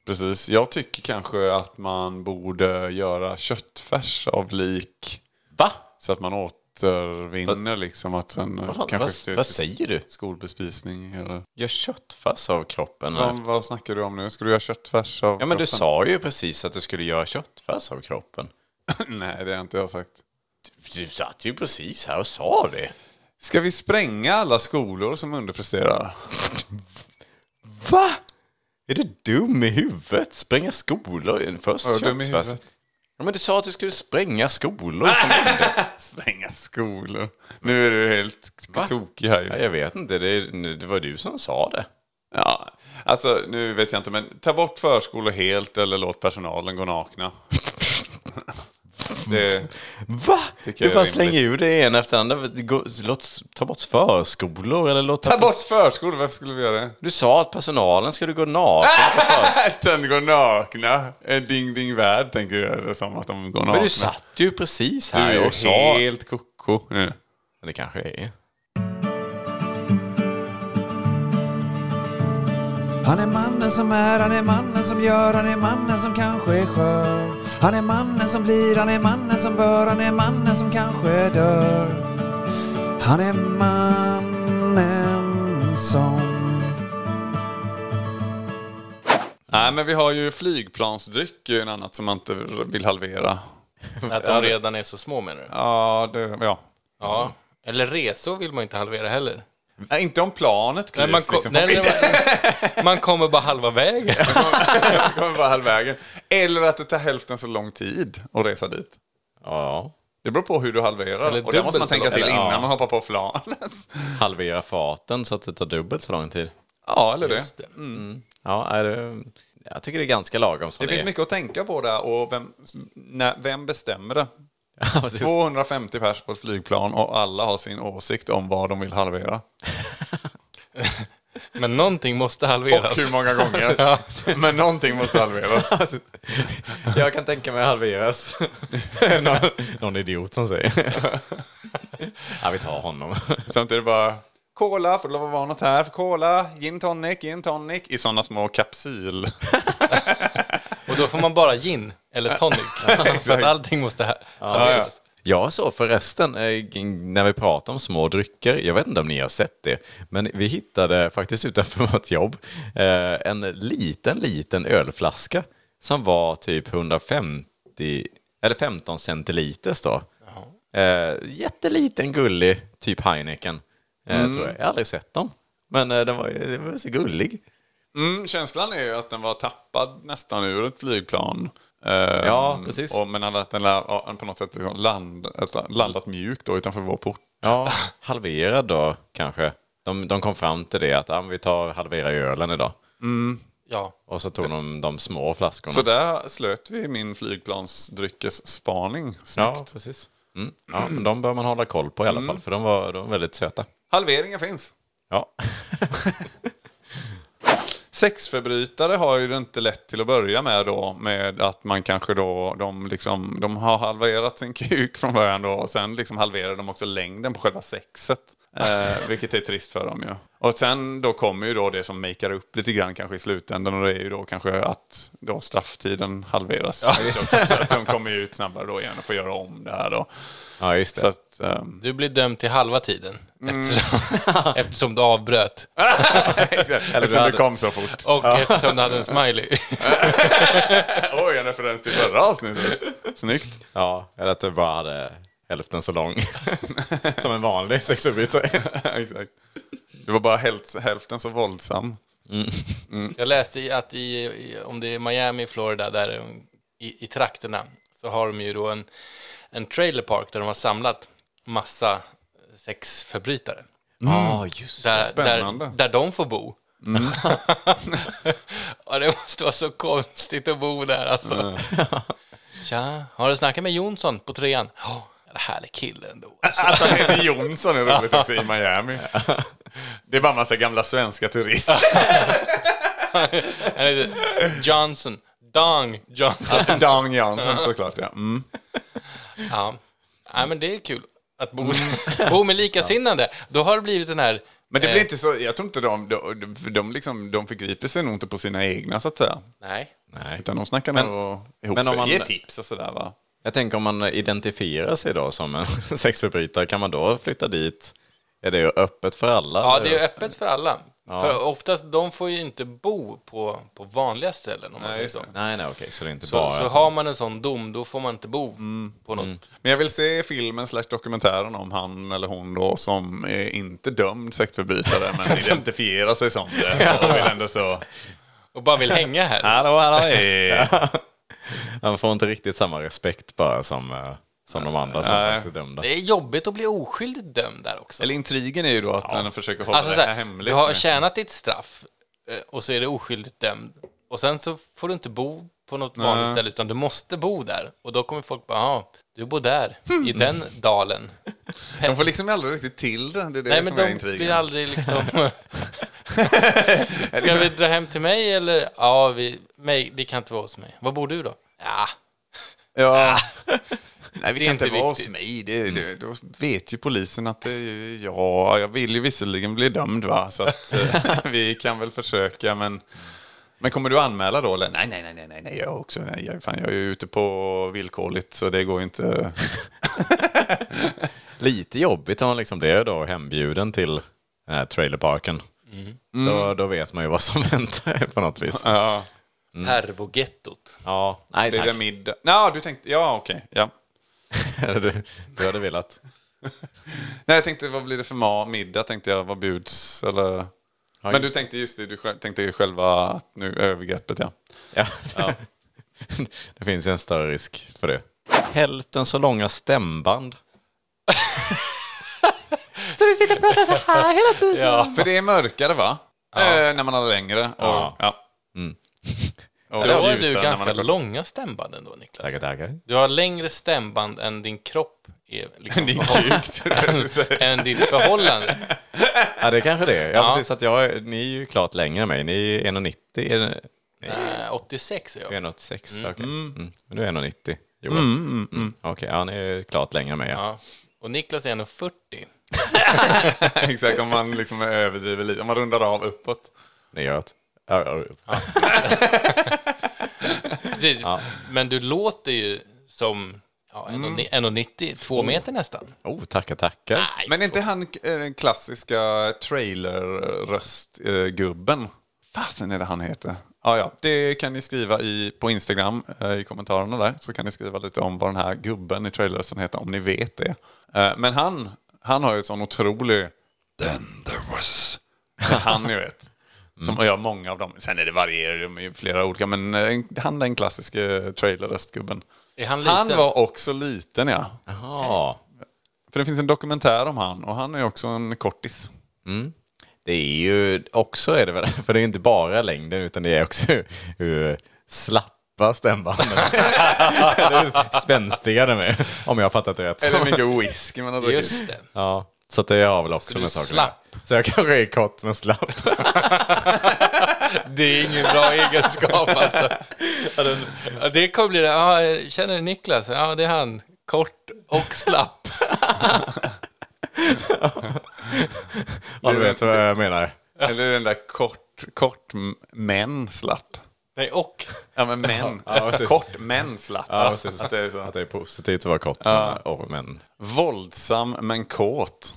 [SPEAKER 4] Precis. Jag tycker kanske att man borde göra köttfärs av lik.
[SPEAKER 5] Va?
[SPEAKER 4] Så att man återvinner liksom att sen eh,
[SPEAKER 5] Vad fan,
[SPEAKER 4] kanske
[SPEAKER 5] vad-
[SPEAKER 4] se
[SPEAKER 5] vad
[SPEAKER 4] till
[SPEAKER 5] säger du?
[SPEAKER 4] Skolbespisning eller...
[SPEAKER 5] Gör köttfärs av kroppen?
[SPEAKER 4] Ja, vad snackar du om nu? Ska du göra köttfärs av
[SPEAKER 5] Ja men du
[SPEAKER 4] kroppen?
[SPEAKER 5] sa ju precis att du skulle göra köttfärs av kroppen.
[SPEAKER 4] (laughs) Nej, det har inte jag sagt.
[SPEAKER 5] Du- Du satt ju precis här och sa det.
[SPEAKER 4] Ska vi spränga alla skolor som underpresterar?
[SPEAKER 5] Va? Är du dum i huvudet? Spränga skolor? Först
[SPEAKER 4] Var du dum i
[SPEAKER 5] köttfärs.
[SPEAKER 4] huvudet?
[SPEAKER 5] Ja, men du sa att du skulle spränga skolor. Som... (laughs)
[SPEAKER 4] Spränga skolor? Nu är du helt
[SPEAKER 5] Va?
[SPEAKER 4] tokig här ju.
[SPEAKER 5] ja, jag vet inte, det, är- det var du som sa det.
[SPEAKER 4] Ja, alltså nu vet jag inte, men ta bort förskolor helt eller låt personalen gå nakna. Det,
[SPEAKER 5] Va?
[SPEAKER 4] Tycker
[SPEAKER 5] Du
[SPEAKER 4] jag är
[SPEAKER 5] bara
[SPEAKER 4] rimligt.
[SPEAKER 5] slänger ur det ena efter andra. Gå- Låt, ta bort förskolor eller låt...
[SPEAKER 4] ta bort förskolor, varför skulle vi göra det?
[SPEAKER 5] Du sa att personalen skulle gå naken på förskolan.
[SPEAKER 4] (laughs) Den går nakna, en ding ding värld tänker jag det är som att de går nakna.
[SPEAKER 5] Men du satt ju precis
[SPEAKER 4] Du är
[SPEAKER 5] här
[SPEAKER 4] ju
[SPEAKER 5] och sa...
[SPEAKER 4] helt koko nu.
[SPEAKER 5] Det kanske är.
[SPEAKER 6] Han är mannen som är, han är mannen som gör, han är mannen som kanske är skör. Han är mannen som blir, han är mannen som bör, han är mannen som kanske dör. Han är mannen som...
[SPEAKER 4] Nej, men vi har ju flygplansdryck, är ju en annat som man inte vill halvera.
[SPEAKER 3] Att de redan är så små menar du?
[SPEAKER 4] Ja, det, ja.
[SPEAKER 3] Ja. Eller resor vill man inte halvera heller.
[SPEAKER 4] Nej, inte om planet
[SPEAKER 3] Nej,
[SPEAKER 4] klyvs.
[SPEAKER 3] man, kom,
[SPEAKER 4] liksom.
[SPEAKER 3] nej, man, (laughs) man kommer bara halva vägen.
[SPEAKER 4] (laughs) Det kommer vara halvvägen. Eller att det tar hälften så lång tid att resa dit.
[SPEAKER 5] Ja.
[SPEAKER 4] Det beror på hur du halverar.
[SPEAKER 3] Eller
[SPEAKER 4] och det måste man
[SPEAKER 3] dubbelt så
[SPEAKER 4] tänka
[SPEAKER 3] lång.
[SPEAKER 4] till
[SPEAKER 5] Eller,
[SPEAKER 4] innan
[SPEAKER 5] ja.
[SPEAKER 4] man hoppar på flanet. (laughs)
[SPEAKER 5] Halvera farten så att det tar dubbelt så lång tid.
[SPEAKER 4] Ja, eller det. Det,
[SPEAKER 3] Just det.
[SPEAKER 5] Ja, är det... jag tycker det är ganska lagom som det,
[SPEAKER 4] finns
[SPEAKER 5] är.
[SPEAKER 4] mycket att tänka på där och vem, när, vem bestämmer det?
[SPEAKER 5] Ja, precis.
[SPEAKER 4] 250 pers på ett flygplan och alla har sin åsikt om vad de vill halvera.
[SPEAKER 3] Men någonting måste
[SPEAKER 4] Och
[SPEAKER 3] halveras. (laughs)
[SPEAKER 4] hur många gånger. Men någonting måste halveras.
[SPEAKER 5] Alltså, jag kan tänka mig (laughs) halveras. någon, någon idiot som säger. (laughs) ja, vi tar honom.
[SPEAKER 4] Samtidigt bara Cola, får det lov att vara något här? Cola, gin tonic, gin tonic. I sådana små kapsyl.
[SPEAKER 3] Och då får man bara gin eller (laughs)
[SPEAKER 4] (laughs)
[SPEAKER 3] tonic. För att allting måste ha- halveras.
[SPEAKER 5] Jag så förresten, eh, g- när vi pratar om små drycker, jag vet inte om ni har sett det, men vi hittade faktiskt utanför (laughs) vårt jobb eh, en liten, liten ölflaska som var typ 150, eller 15 centiliters då. Eh, jätteliten, gullig, typ Heineken, eh, tror jag. Jag har aldrig sett dem, men eh, den, var, den var så gullig.
[SPEAKER 4] Mm, känslan är ju att den var tappad nästan ur ett flygplan. Eh,
[SPEAKER 5] Ja, precis.
[SPEAKER 4] Och, men att den la- ja, på något sätt liksom land, alltså, landat mjukt då, utanför vår port.
[SPEAKER 5] Ja, halverad då kanske. De, de kom fram till det att ah, vi tar halvera ölen idag.
[SPEAKER 3] Ja.
[SPEAKER 5] Och så tog de de små flaskorna.
[SPEAKER 4] Så där slöt vi min flygplansdryckesspaning. Snyggt.
[SPEAKER 5] ja, precis. Mm. Ja, men de bör man hålla koll på i alla fall, för de var, de var väldigt söta.
[SPEAKER 4] Halveringen finns.
[SPEAKER 5] Ja.
[SPEAKER 4] Sexförbrytare har ju det inte lätt till att börja med då. Med att man kanske då, de, liksom, de har halverat sin kuk från början då. Och sen liksom halverar de också längden på själva sexet. (laughs) Eh, vilket är trist för dem ju. Och sen då kommer ju då det som makear upp lite grann kanske i slutändan. Och det är ju då kanske att då strafftiden halveras. Så att de kommer ju ut snabbare då igen och får göra om det här då.
[SPEAKER 5] ja, just
[SPEAKER 4] Så
[SPEAKER 5] det.
[SPEAKER 4] att, ehm,
[SPEAKER 3] Du blir dömd till halva tiden.
[SPEAKER 4] Mm.
[SPEAKER 3] Eftersom, eftersom du avbröt.
[SPEAKER 4] (laughs) Eller
[SPEAKER 5] du
[SPEAKER 4] sen det
[SPEAKER 5] hade-
[SPEAKER 4] kom så fort.
[SPEAKER 3] Och eftersom du hade en
[SPEAKER 4] (laughs)
[SPEAKER 3] smiley.
[SPEAKER 4] Oj, en referens till förra avsnittet. Snyggt.
[SPEAKER 5] Ja, eller att det bara hade hälften så lång. (laughs) Som en vanlig sexförbrytare.
[SPEAKER 4] Exakt. Du var bara häl- hälften så våldsam.
[SPEAKER 3] Jag läste i att i, i, om det är Miami, Florida, där um, i, i trakterna, så har de ju då en, en trailer park där de har samlat massa eh, sexförbrytare.
[SPEAKER 5] Ja, Ah, just det.
[SPEAKER 3] Där,
[SPEAKER 4] Spännande.
[SPEAKER 3] där, där de får bo. (laughs) ja, det måste vara så (laughs) konstigt att bo där alltså. Tja, har du snackat med Jonsson på trean? Ja, det härlig kille ändå.
[SPEAKER 4] (laughs) Att han heter Jonsson är roligt också i Miami. Det är bara massa gamla svenska turister.
[SPEAKER 3] Han heter Johnson. Dong Johnson.
[SPEAKER 4] (laughs) Dan Jansson såklart ja. Mm.
[SPEAKER 3] Ja. Nej, men det är kul att bo, (laughs) bo med likasinnande. Då har det blivit den här...
[SPEAKER 4] Mm. Men det
[SPEAKER 3] eh,
[SPEAKER 4] blir inte så, jag tror inte de, de, för de, liksom, de förgriper sig nog inte på sina egna så att säga.
[SPEAKER 3] Nej.
[SPEAKER 5] Nej.
[SPEAKER 4] Utan de snackar
[SPEAKER 5] Men-
[SPEAKER 4] nog ihop
[SPEAKER 5] men om
[SPEAKER 4] sig.
[SPEAKER 5] man-
[SPEAKER 4] Ge tips och sådär va.
[SPEAKER 5] Jag tänker om man identifierar sig då som en (laughs) sexförbrytare, kan man då flytta dit? Är det öppet för alla?
[SPEAKER 3] Ja, det är öppet för alla. För oftast, de får ju inte bo på, på vanliga ställen om man säger så.
[SPEAKER 5] Nej, nej, okej, så det är inte
[SPEAKER 3] Så,
[SPEAKER 5] bara...
[SPEAKER 3] så har man en sån dom, då får man inte bo
[SPEAKER 4] Mm.
[SPEAKER 3] på något.
[SPEAKER 4] Men jag vill se filmen slash dokumentären om han eller hon då som är inte dömd sektförbrytare (laughs) men identifierar sig som (laughs) det. Och vill ändå så...
[SPEAKER 3] Och bara vill hänga
[SPEAKER 4] (laughs)
[SPEAKER 3] här.
[SPEAKER 4] Hallå, hallå! hej.
[SPEAKER 5] (laughs) Han får inte riktigt samma respekt bara som, eh, som de andra som
[SPEAKER 4] Nej.
[SPEAKER 5] faktiskt är dömda.
[SPEAKER 3] Det är jobbigt att bli oskyldigt dömd där också.
[SPEAKER 4] Eller intrigen är ju då att den försöker hålla
[SPEAKER 3] Alltså
[SPEAKER 4] det
[SPEAKER 3] så
[SPEAKER 4] här
[SPEAKER 3] här,
[SPEAKER 4] hemligt.
[SPEAKER 3] du har
[SPEAKER 4] men-
[SPEAKER 3] tjänat ditt straff eh, och så är du oskyldigt dömd. Och sen så får du inte bo på något vanligt ställe utan du måste bo där. Och då kommer folk bara, ja, du bor där,
[SPEAKER 4] Hmm.
[SPEAKER 3] i den dalen.
[SPEAKER 4] De får liksom aldrig riktigt till det. Det är det
[SPEAKER 3] Nej
[SPEAKER 4] som
[SPEAKER 3] men
[SPEAKER 4] är
[SPEAKER 3] de
[SPEAKER 4] intrigen.
[SPEAKER 3] blir aldrig liksom...
[SPEAKER 4] (laughs)
[SPEAKER 3] Ska vi dra hem till mig eller? Ja, vi, mig, det kan inte vara hos mig. Var bor du då? Ja,
[SPEAKER 4] Ja. (laughs) Nej, vi
[SPEAKER 3] Det är
[SPEAKER 4] kan
[SPEAKER 3] inte
[SPEAKER 4] inte vara hos
[SPEAKER 3] viktigt.
[SPEAKER 4] mig. Det, det, då vet ju polisen att det är ju jag. Jag vill ju visserligen bli dömd va, så att eh, vi kan väl försöka men... Men kommer du anmäla då eller? Nej, nej, nej, nej, nej, nej, jag också. Nej, jag, fan, jag är ju ute på villkorligt så det går ju inte.
[SPEAKER 5] Lite jobbigt om man liksom blir då hembjuden till den här trailerparken. Mm. Då, då vet man ju vad som (laughs) hänt på något vis.
[SPEAKER 4] Ja, Mm.
[SPEAKER 3] pervogettot.
[SPEAKER 5] Ja, nej
[SPEAKER 4] det är
[SPEAKER 5] tack.
[SPEAKER 4] det middag. Ja, du tänkte, ja okej, ja.
[SPEAKER 5] (laughs) du, du hade velat.
[SPEAKER 4] Nej, jag tänkte vad blir det för ma- middag tänkte jag, vad bjuds eller? men du
[SPEAKER 5] just-
[SPEAKER 4] tänkte just det, du själv, tänkte ju själva att nu övergreppet ja.
[SPEAKER 5] Ja. (laughs) det finns ju en större risk för det. Hälften så långa stämband.
[SPEAKER 4] (laughs) För det är mörkare va? Eh, när man har längre. Och, ja. Och
[SPEAKER 3] Då har
[SPEAKER 4] ljusare
[SPEAKER 3] du
[SPEAKER 4] när man
[SPEAKER 3] ganska
[SPEAKER 4] har kort.
[SPEAKER 3] långa stämband ändå, Niklas.
[SPEAKER 5] Tackar, tackar.
[SPEAKER 3] Du har längre stämband än din kropp (laughs) är liksom
[SPEAKER 4] Det är
[SPEAKER 3] förhåll-
[SPEAKER 4] sjukt. det är så-
[SPEAKER 3] (laughs) än ditt (laughs) förhållande.
[SPEAKER 5] Ja, det är kanske det är. Ja, precis. Att jag, är- ni är ju klart längre än mig. Ni är 1,90. Är det-
[SPEAKER 3] Eh, 86 är jag.
[SPEAKER 5] 1,86. Mm. Okej. Mm. Men du är 1,90. Joel. Mm. Okej, ja, ni är klart längre än mig. Ja.
[SPEAKER 3] Ja. Och Niklas är 1,40.
[SPEAKER 4] (laughs) Exakt, om man liksom överdriver lite. Om man rundar av uppåt.
[SPEAKER 5] Ni gör ett... Ja, ja, ja.
[SPEAKER 3] Precis. Men du låter ju som ja, 1,90, två meter nästan.
[SPEAKER 5] Oh, tackar, tackar.
[SPEAKER 4] Men är inte han eh, den klassiska trailer-röstgubben? Fasen är det han heter. Ja, ja. Det kan ni skriva i, på Instagram eh, i kommentarerna där. Så kan ni skriva lite om vad den här gubben i trailern heter, om ni vet det. Eh, Men han, han har ju en sån otrolig... Then there was... (laughs) Han, ni vet. Som och jag många av dem. Sen är det varierar de är ju flera olika, men eh, han den klassiske trailer-röstgubben.
[SPEAKER 3] Är han liten?
[SPEAKER 4] Han var också liten, ja.
[SPEAKER 5] Jaha.
[SPEAKER 4] För det finns en dokumentär om han och han är också en kortis.
[SPEAKER 5] Det är ju också, är det väl, (laughs) för det är inte bara längden utan det är också hur, hur slappa stämbanden är. (laughs) Eller spänstiga de är, om jag har fattat det rätt.
[SPEAKER 4] Eller hur mycket whisky man har druckit.
[SPEAKER 3] Just det.
[SPEAKER 5] Ja, så att det har väl också
[SPEAKER 3] du
[SPEAKER 5] med saker
[SPEAKER 3] slapp?
[SPEAKER 5] att göra. Så jag kanske är kort men slapp.
[SPEAKER 3] Det är ingen bra egenskap alltså. (laughs) Ja, Det kommer bli det. Ja, jag känner du Niklas? Ja, det är han. Kort och (laughs) slapp.
[SPEAKER 5] Om du vet vad jag menar.
[SPEAKER 4] Eller den där kort, kort m- men slapp.
[SPEAKER 3] Nej, och.
[SPEAKER 4] Ja men men.
[SPEAKER 5] Ja, precis.
[SPEAKER 4] kort men slapp.
[SPEAKER 5] Ja, typ. precis.
[SPEAKER 4] Att det är så.
[SPEAKER 5] Att det är positivt att vara kort. Ja. men
[SPEAKER 4] Våldsam
[SPEAKER 5] (laughs)
[SPEAKER 4] men kåt.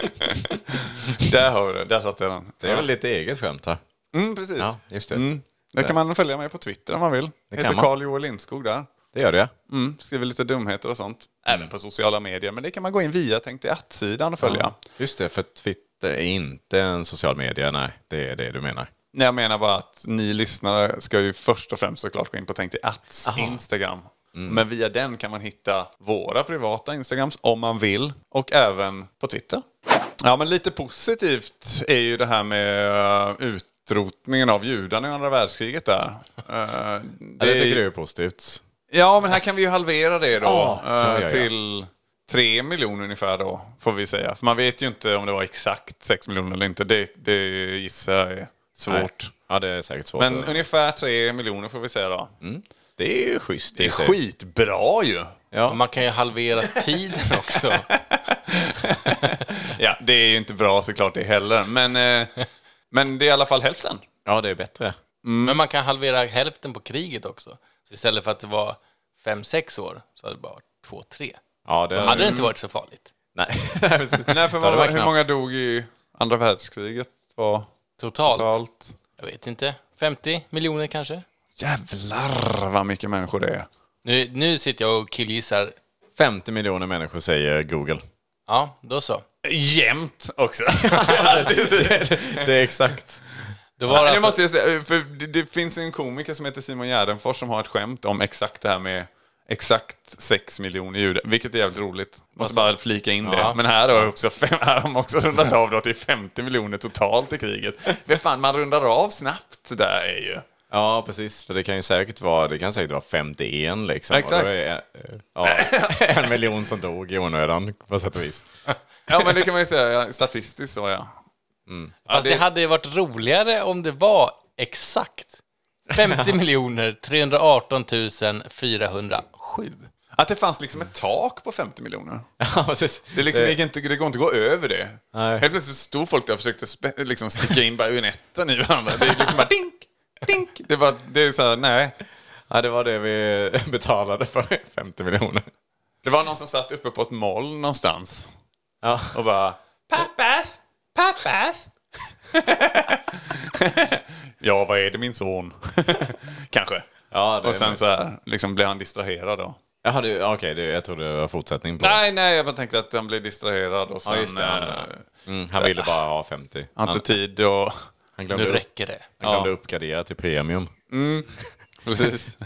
[SPEAKER 4] det är det. där har vi det. Där satte jag den.
[SPEAKER 5] det är väl lite eget skämt va?
[SPEAKER 4] Mm, precis.
[SPEAKER 5] Ja, just det.
[SPEAKER 4] Mm. Där kan man följa mig på Twitter om man vill. Det
[SPEAKER 5] kan
[SPEAKER 4] heter
[SPEAKER 5] man.
[SPEAKER 4] Carl Joel Lindskog där.
[SPEAKER 5] Det gör det ja.
[SPEAKER 4] Mm, skriver lite dumheter och sånt. Även på sociala medier. Men det kan man gå in via Tänk dig att-sidan och följa.
[SPEAKER 5] Just det, för Twitter är inte en social media, nej. Det är det du menar.
[SPEAKER 4] Nej, jag menar bara att ni lyssnare ska ju först och främst såklart gå in på Tänk dig atts Instagram.
[SPEAKER 5] Mm.
[SPEAKER 4] Men via den kan man hitta våra privata Instagrams om man vill. Och även på Twitter. Ja, men lite positivt är ju det här med eh, utrotningen av judarna i andra världskriget där. Eh,
[SPEAKER 5] Det,
[SPEAKER 4] är-
[SPEAKER 5] tycker du är positivt.
[SPEAKER 4] Ja, men här kan vi ju halvera det då.
[SPEAKER 5] Ja,
[SPEAKER 4] eh,
[SPEAKER 5] ja, ja.
[SPEAKER 4] Till tre miljoner ungefär då, får vi säga. För man vet ju inte om det var exakt sex miljoner eller inte. Det, det gissar jag är svårt.
[SPEAKER 5] Ja, det är säkert svårt.
[SPEAKER 4] Men
[SPEAKER 5] att-
[SPEAKER 4] ungefär tre miljoner får vi säga då.
[SPEAKER 5] det är ju schysst.
[SPEAKER 4] Mm, Det
[SPEAKER 5] i
[SPEAKER 4] är
[SPEAKER 5] sig.
[SPEAKER 4] skitbra ju!
[SPEAKER 5] Ja.
[SPEAKER 3] Man kan ju halvera tiden också.
[SPEAKER 4] Ja, det är ju inte bra såklart det heller. Men, eh, (laughs) men det är i alla fall (laughs) hälften.
[SPEAKER 5] ja, det är bättre.
[SPEAKER 3] Men man kan halvera hälften på kriget också. Så istället för att det var fem sex år så hade det bara varit två tre.
[SPEAKER 5] Ja, det
[SPEAKER 3] Då hade det inte varit så farligt.
[SPEAKER 5] (laughs) Nej.
[SPEAKER 4] Nej, för
[SPEAKER 5] Då hade det
[SPEAKER 4] vad,
[SPEAKER 5] varit
[SPEAKER 4] hur
[SPEAKER 5] knappt.
[SPEAKER 4] många dog i andra världskriget? Var
[SPEAKER 3] Totalt.
[SPEAKER 4] totalt?
[SPEAKER 3] Jag vet inte. 50 miljoner kanske?
[SPEAKER 4] Jävlar vad mycket människor det är.
[SPEAKER 3] Nu, nu sitter jag och killgissar.
[SPEAKER 5] 50 miljoner människor säger Google.
[SPEAKER 3] Ja, då så.
[SPEAKER 4] Jämt också. (laughs)
[SPEAKER 5] Det är exakt.
[SPEAKER 3] Då var
[SPEAKER 4] Ja,
[SPEAKER 3] det
[SPEAKER 4] det
[SPEAKER 3] alltså,
[SPEAKER 4] måste jag säga, eh, för det, det finns en komiker som heter Simon Gärdenfors som har ett skämt om exakt det här med exakt 6 miljoner judar, vilket är jävligt roligt. Måste bara flika in det.
[SPEAKER 3] Ja.
[SPEAKER 4] Men här har, också fem, här har de också rundat av då till 50 miljoner totalt i kriget. Men fan, man rundar av snabbt där är ju.
[SPEAKER 5] Ja, precis. För det kan ju säkert vara, det kan säkert vara 51 liksom.
[SPEAKER 4] Exakt.
[SPEAKER 5] Och då är, eh, ja, (laughs) en miljon som dog i onödan på sätt och vis.
[SPEAKER 4] Ja, men det kan man ju säga ja, statistiskt så ja.
[SPEAKER 3] fast det
[SPEAKER 4] det-
[SPEAKER 3] hade ju varit roligare om det var exakt 50 miljoner 318 407.
[SPEAKER 4] Att det fanns liksom ett tak på 50 miljoner.
[SPEAKER 5] Ja, precis.
[SPEAKER 4] Det, liksom gick inte, det går inte att gå över det.
[SPEAKER 5] Eh. Nej.
[SPEAKER 4] Helt plötsligt stod folk där och försökte spe, liksom sticka in bajonetten i varandra. Det är liksom bara dink, dink. Det, var, det är så här, nej.
[SPEAKER 5] Ja, det var det vi (laughs) betalade för 50 miljoner.
[SPEAKER 4] Det var någon som satt uppe på ett moln någonstans
[SPEAKER 5] Ja.
[SPEAKER 4] och bara...
[SPEAKER 3] Pappas! Pappas!
[SPEAKER 4] Ja, vad är det min son? (laughs) Kanske.
[SPEAKER 5] Ja, det
[SPEAKER 4] och sen så här, liksom blev han distraherad då.
[SPEAKER 5] Jaha, det- ja, okej, det, jag trodde det var fortsättning på
[SPEAKER 4] Nej, nej, jag bara tänkte att han blev distraherad och sen...
[SPEAKER 5] just det, han-
[SPEAKER 4] eh,
[SPEAKER 5] Mm, han ville bara ha 50.
[SPEAKER 4] han
[SPEAKER 5] Han,
[SPEAKER 4] hade inte tid och...
[SPEAKER 5] han
[SPEAKER 3] Nu
[SPEAKER 5] glömde, upp,
[SPEAKER 3] räcker det. (laughs)
[SPEAKER 5] han glömde uppgradera till premium.
[SPEAKER 4] Precis.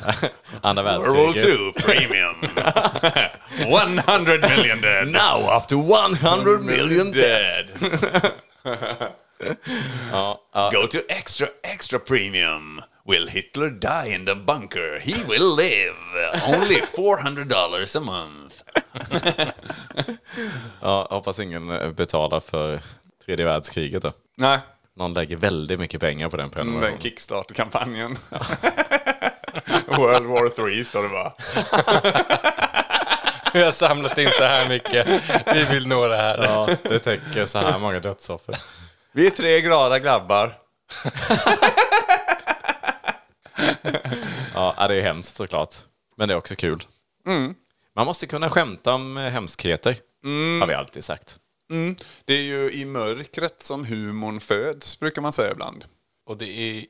[SPEAKER 5] Andra
[SPEAKER 4] World
[SPEAKER 5] världskriget.
[SPEAKER 4] 2
[SPEAKER 5] (laughs)
[SPEAKER 4] Premium. 100 million dead.
[SPEAKER 5] Now up to 100 million
[SPEAKER 4] dead. Go to extra extra premium. Will Hitler die in the bunker? He will live. Only $400 a month.
[SPEAKER 5] Ja, jag hoppas ingen eh, betalar för tredje världskriget då.
[SPEAKER 4] Nej,
[SPEAKER 5] Någon lägger väldigt mycket pengar på den prenumerationen.
[SPEAKER 4] den Kickstarter-kampanjen. (laughs) World War 3 står det bara.
[SPEAKER 3] Vi har samlat in så här mycket. Vi vill nå det här.
[SPEAKER 5] Ja, det täcker så här många dödsoffer.
[SPEAKER 4] Vi är tre glada grabbar.
[SPEAKER 5] Ja, ja, det är hemskt såklart. Men det är också kul.
[SPEAKER 4] Mm.
[SPEAKER 5] Man måste kunna skämta om eh, hemskheter.
[SPEAKER 4] Mm.
[SPEAKER 5] Har vi alltid sagt.
[SPEAKER 4] Det är ju i mörkret som humorn föds, brukar man säga ibland.
[SPEAKER 3] Och det är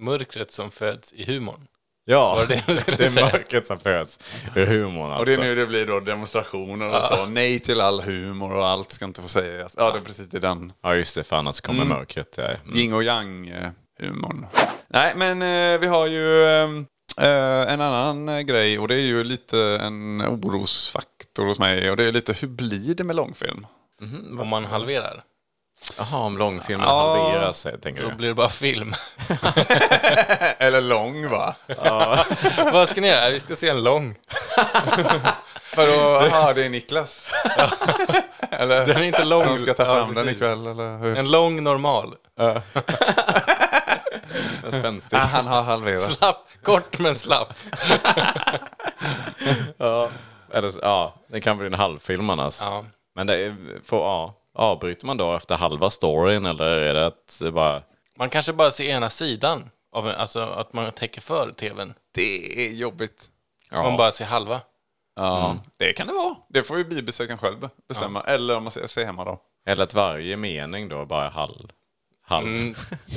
[SPEAKER 3] mörkret som föds i humorn.
[SPEAKER 5] Ja,
[SPEAKER 3] Var det det du
[SPEAKER 5] (laughs)
[SPEAKER 3] skulle
[SPEAKER 5] är
[SPEAKER 3] säga?
[SPEAKER 5] mörkret som föds ur humorn
[SPEAKER 4] Och det är
[SPEAKER 5] alltså.
[SPEAKER 4] nu det blir då demonstrationer och så. Nej till all humor och allt ska inte få sägas. Ja, det är precis det är den
[SPEAKER 5] Ja, just det, för annars kommer mörkret. ja. Mm.
[SPEAKER 4] yin och yang-humorn. Nej, men eh, vi har ju eh, eh, en annan eh, grej och det är ju lite en orosfaktor hos mig. Och det är lite hur blir det med långfilm?
[SPEAKER 3] Om man halverar.
[SPEAKER 5] Jaha, om långfilmen
[SPEAKER 4] Ja.
[SPEAKER 5] halveras, eh, tänker
[SPEAKER 3] Då
[SPEAKER 5] du?
[SPEAKER 3] blir det bara film. (laughs)
[SPEAKER 4] Eller lång va?
[SPEAKER 3] Vad ska ni göra? Vi ska se en lång.
[SPEAKER 4] Vadå, jaha det är Niklas? (laughs) eller,
[SPEAKER 3] Den är inte lång.
[SPEAKER 4] Som ska ta
[SPEAKER 3] Ja,
[SPEAKER 4] fram den
[SPEAKER 3] precis.
[SPEAKER 4] ikväll eller hur?
[SPEAKER 3] En lång normal.
[SPEAKER 5] (laughs) Spänstig.
[SPEAKER 4] han har halverat.
[SPEAKER 3] Slapp. Kort men slapp.
[SPEAKER 5] Eller, ja, det kan bli en halvfilm annars.
[SPEAKER 3] Ja.
[SPEAKER 5] Men det är, får, ja, avbryter man då efter halva storyn eller är det att det bara...
[SPEAKER 3] Man kanske bara ser ena sidan. Av, en- alltså att man täcker för tvn.
[SPEAKER 4] Det är jobbigt.
[SPEAKER 5] Ja,
[SPEAKER 3] Man bara ser halva.
[SPEAKER 4] Ja,
[SPEAKER 3] Mm.
[SPEAKER 4] det kan det vara. Det får ju bibesökaren själv bestämma. Eller om man ser ser hemma då.
[SPEAKER 5] Eller att varje mening då bara är halv. halv.
[SPEAKER 4] Mm.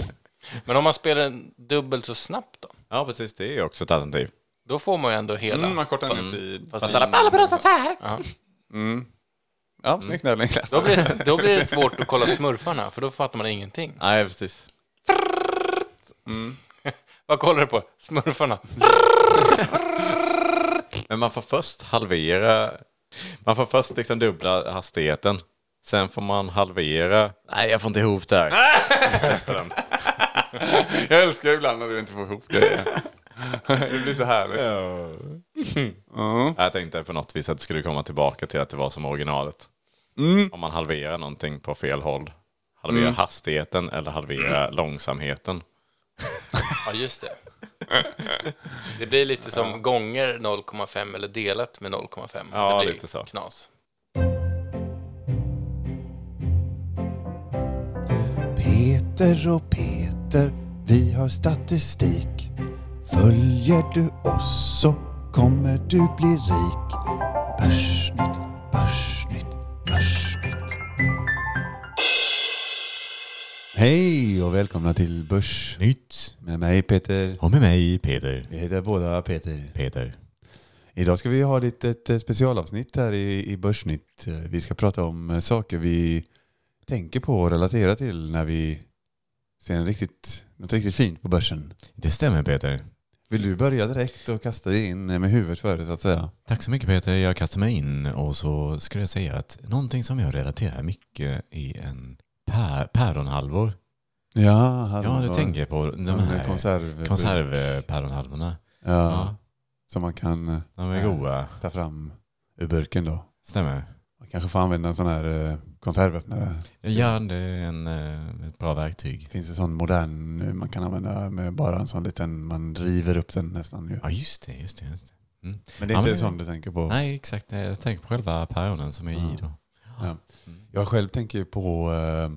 [SPEAKER 3] (laughs) Men om man spelar den dubbelt så snabbt då?
[SPEAKER 5] Ja, precis. Det är ju också ett alternativ.
[SPEAKER 3] Då får man ju ändå hela.
[SPEAKER 4] Mm, man kortar ner tid.
[SPEAKER 3] Fast
[SPEAKER 5] Fast
[SPEAKER 3] det-
[SPEAKER 5] alla alla pratar så här.
[SPEAKER 4] Ja, snyggt där Niklas.
[SPEAKER 3] Mm. Då blir, det- då blir det svårt att kolla smurfarna, för då fattar man ingenting.
[SPEAKER 5] Nej, precis.
[SPEAKER 3] Vad kollar du på? Smurfarna.
[SPEAKER 5] Men man får först halvera... Man får först liksom dubbla hastigheten. Sen får man halvera... Nej, jag får inte ihop det här. (laughs)
[SPEAKER 4] Jag älskar ibland när du inte får ihop grejer. Det blir så härligt.
[SPEAKER 5] Jag tänkte på något vis att det skulle komma tillbaka till att det var som originalet.
[SPEAKER 6] Mm.
[SPEAKER 5] Om man halverar någonting på fel håll. Halvera hastigheten eller halvera långsamheten.
[SPEAKER 3] Ja, just det. Det blir lite som gånger 0,5 eller delat med 0,5.
[SPEAKER 5] Ja,
[SPEAKER 3] det blir
[SPEAKER 5] lite så.
[SPEAKER 3] knas.
[SPEAKER 6] Peter och Peter, vi har statistik. Följer du oss så kommer du bli rik. Börsnytt, börsnytt, börsnytt. Hej och välkomna till Börsnytt med mig Peter.
[SPEAKER 5] Och med mig Peter.
[SPEAKER 6] Vi heter båda Peter.
[SPEAKER 5] Peter.
[SPEAKER 6] Idag ska vi ha lite ett eh, specialavsnitt här i, i Börsnytt. Eh, Vi ska prata om eh, saker vi tänker på och relaterar till när vi ser en riktigt, något riktigt fint på börsen.
[SPEAKER 5] Det stämmer Peter.
[SPEAKER 6] Vill du börja direkt och kasta dig in eh, med huvudet före så att säga?
[SPEAKER 5] Tack så mycket Peter. Jag kastar mig in och så skulle jag säga att någonting som jag relaterar mycket i en pä- päronhalvor.
[SPEAKER 6] Ja, här
[SPEAKER 5] Ja,
[SPEAKER 6] har
[SPEAKER 5] du
[SPEAKER 6] vi-
[SPEAKER 5] tänker på de
[SPEAKER 6] de
[SPEAKER 5] här
[SPEAKER 6] här konserv...
[SPEAKER 5] konservpäronhalvorna.
[SPEAKER 6] Ja,
[SPEAKER 5] Ja.
[SPEAKER 6] Som man kan eh,
[SPEAKER 5] De är
[SPEAKER 6] Ja.
[SPEAKER 5] goda.
[SPEAKER 6] ta fram ur burken då.
[SPEAKER 5] Stämmer.
[SPEAKER 6] Man kanske får använda en sån här eh, konservöppnare.
[SPEAKER 5] Ja, det är en, eh, ett bra verktyg.
[SPEAKER 6] Det finns en sån modern nu man kan använda med bara en sån liten, man river upp den nästan ju.
[SPEAKER 5] Ja, just det. Just det, just det.
[SPEAKER 6] Men det är
[SPEAKER 5] Ja,
[SPEAKER 6] inte
[SPEAKER 5] men-
[SPEAKER 6] sån du tänker på?
[SPEAKER 5] Nej, exakt. Nej, Jag tänker på själva päronen som är i då. Mm.
[SPEAKER 6] Jag själv tänker ju på eh,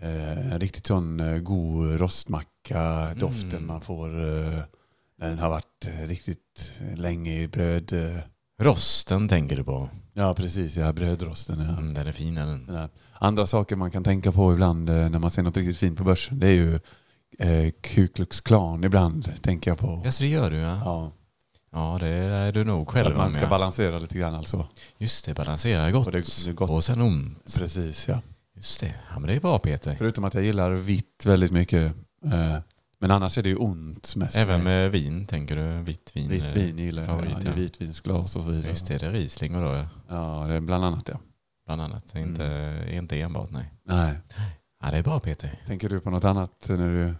[SPEAKER 6] eh, en riktigt sån eh, god rostmacka,
[SPEAKER 5] Mm.
[SPEAKER 6] doften man får eh, när den har varit eh, riktigt länge i bröd. Eh.
[SPEAKER 5] Rosten tänker du på.
[SPEAKER 6] Ja, precis. Ja, brödrosten. Ja.
[SPEAKER 5] Mm, den är fin är
[SPEAKER 6] Den
[SPEAKER 5] den.
[SPEAKER 6] där. Andra saker man kan tänka på ibland eh, när man ser något riktigt fint på börsen, det är ju eh, Ku Klux Klan ibland, tänker jag på.
[SPEAKER 5] Ja, så det gör du ja.
[SPEAKER 6] Ja,
[SPEAKER 5] Ja, det är du nog
[SPEAKER 6] att
[SPEAKER 5] själv
[SPEAKER 6] man
[SPEAKER 5] om
[SPEAKER 6] ska
[SPEAKER 5] ja.
[SPEAKER 6] balansera lite grann alltså.
[SPEAKER 5] Just det, balansera gott.
[SPEAKER 6] Och det är gott.
[SPEAKER 5] Och sen ont.
[SPEAKER 6] Precis, ja.
[SPEAKER 5] Just det. Ja, men det är bra Peter.
[SPEAKER 6] Förutom att jag gillar vitt väldigt mycket. eh, Men annars är det ju ont mest.
[SPEAKER 5] Även med vin tänker du? Vitt vin?
[SPEAKER 6] Vitt
[SPEAKER 5] eh,
[SPEAKER 6] vin gillar jag.
[SPEAKER 5] favorit,
[SPEAKER 6] Ja,
[SPEAKER 5] ja.
[SPEAKER 6] i Vitvinsglas och så vidare.
[SPEAKER 5] Just det, det är Riesling och då ja.
[SPEAKER 6] Ja, det är bland annat ja.
[SPEAKER 5] Bland annat.
[SPEAKER 6] Mm.
[SPEAKER 5] Det är Inte, inte enbart nej.
[SPEAKER 6] Nej.
[SPEAKER 5] Ja, det är bra Peter.
[SPEAKER 6] Tänker du på något annat när du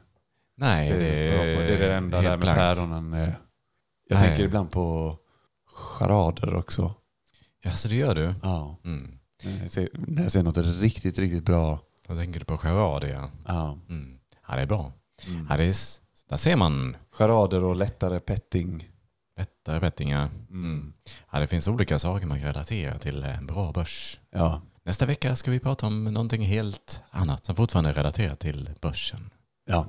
[SPEAKER 5] Nej,
[SPEAKER 6] ser
[SPEAKER 5] det är,
[SPEAKER 6] bra på? Det är det enda
[SPEAKER 5] helt
[SPEAKER 6] där med
[SPEAKER 5] blankt.
[SPEAKER 6] päronen. eh. Jag
[SPEAKER 5] Nej.
[SPEAKER 6] tänker ibland på charader också.
[SPEAKER 5] Ja, så det gör du?
[SPEAKER 6] Ja.
[SPEAKER 5] Mm.
[SPEAKER 6] När jag ser, när jag ser något riktigt, riktigt bra.
[SPEAKER 5] Då tänker du på charader ja.
[SPEAKER 6] Ja.
[SPEAKER 5] Mm. Ja, det är bra.
[SPEAKER 6] Mm.
[SPEAKER 5] Ja, det är, s- där ser man
[SPEAKER 6] Charader och lättare petting.
[SPEAKER 5] lättare bettingar. Mm. Ja, det finns olika saker man kan relatera till en bra börs.
[SPEAKER 6] Ja.
[SPEAKER 5] Nästa vecka ska vi prata om någonting helt annat som fortfarande är relaterat till börsen.
[SPEAKER 6] ja,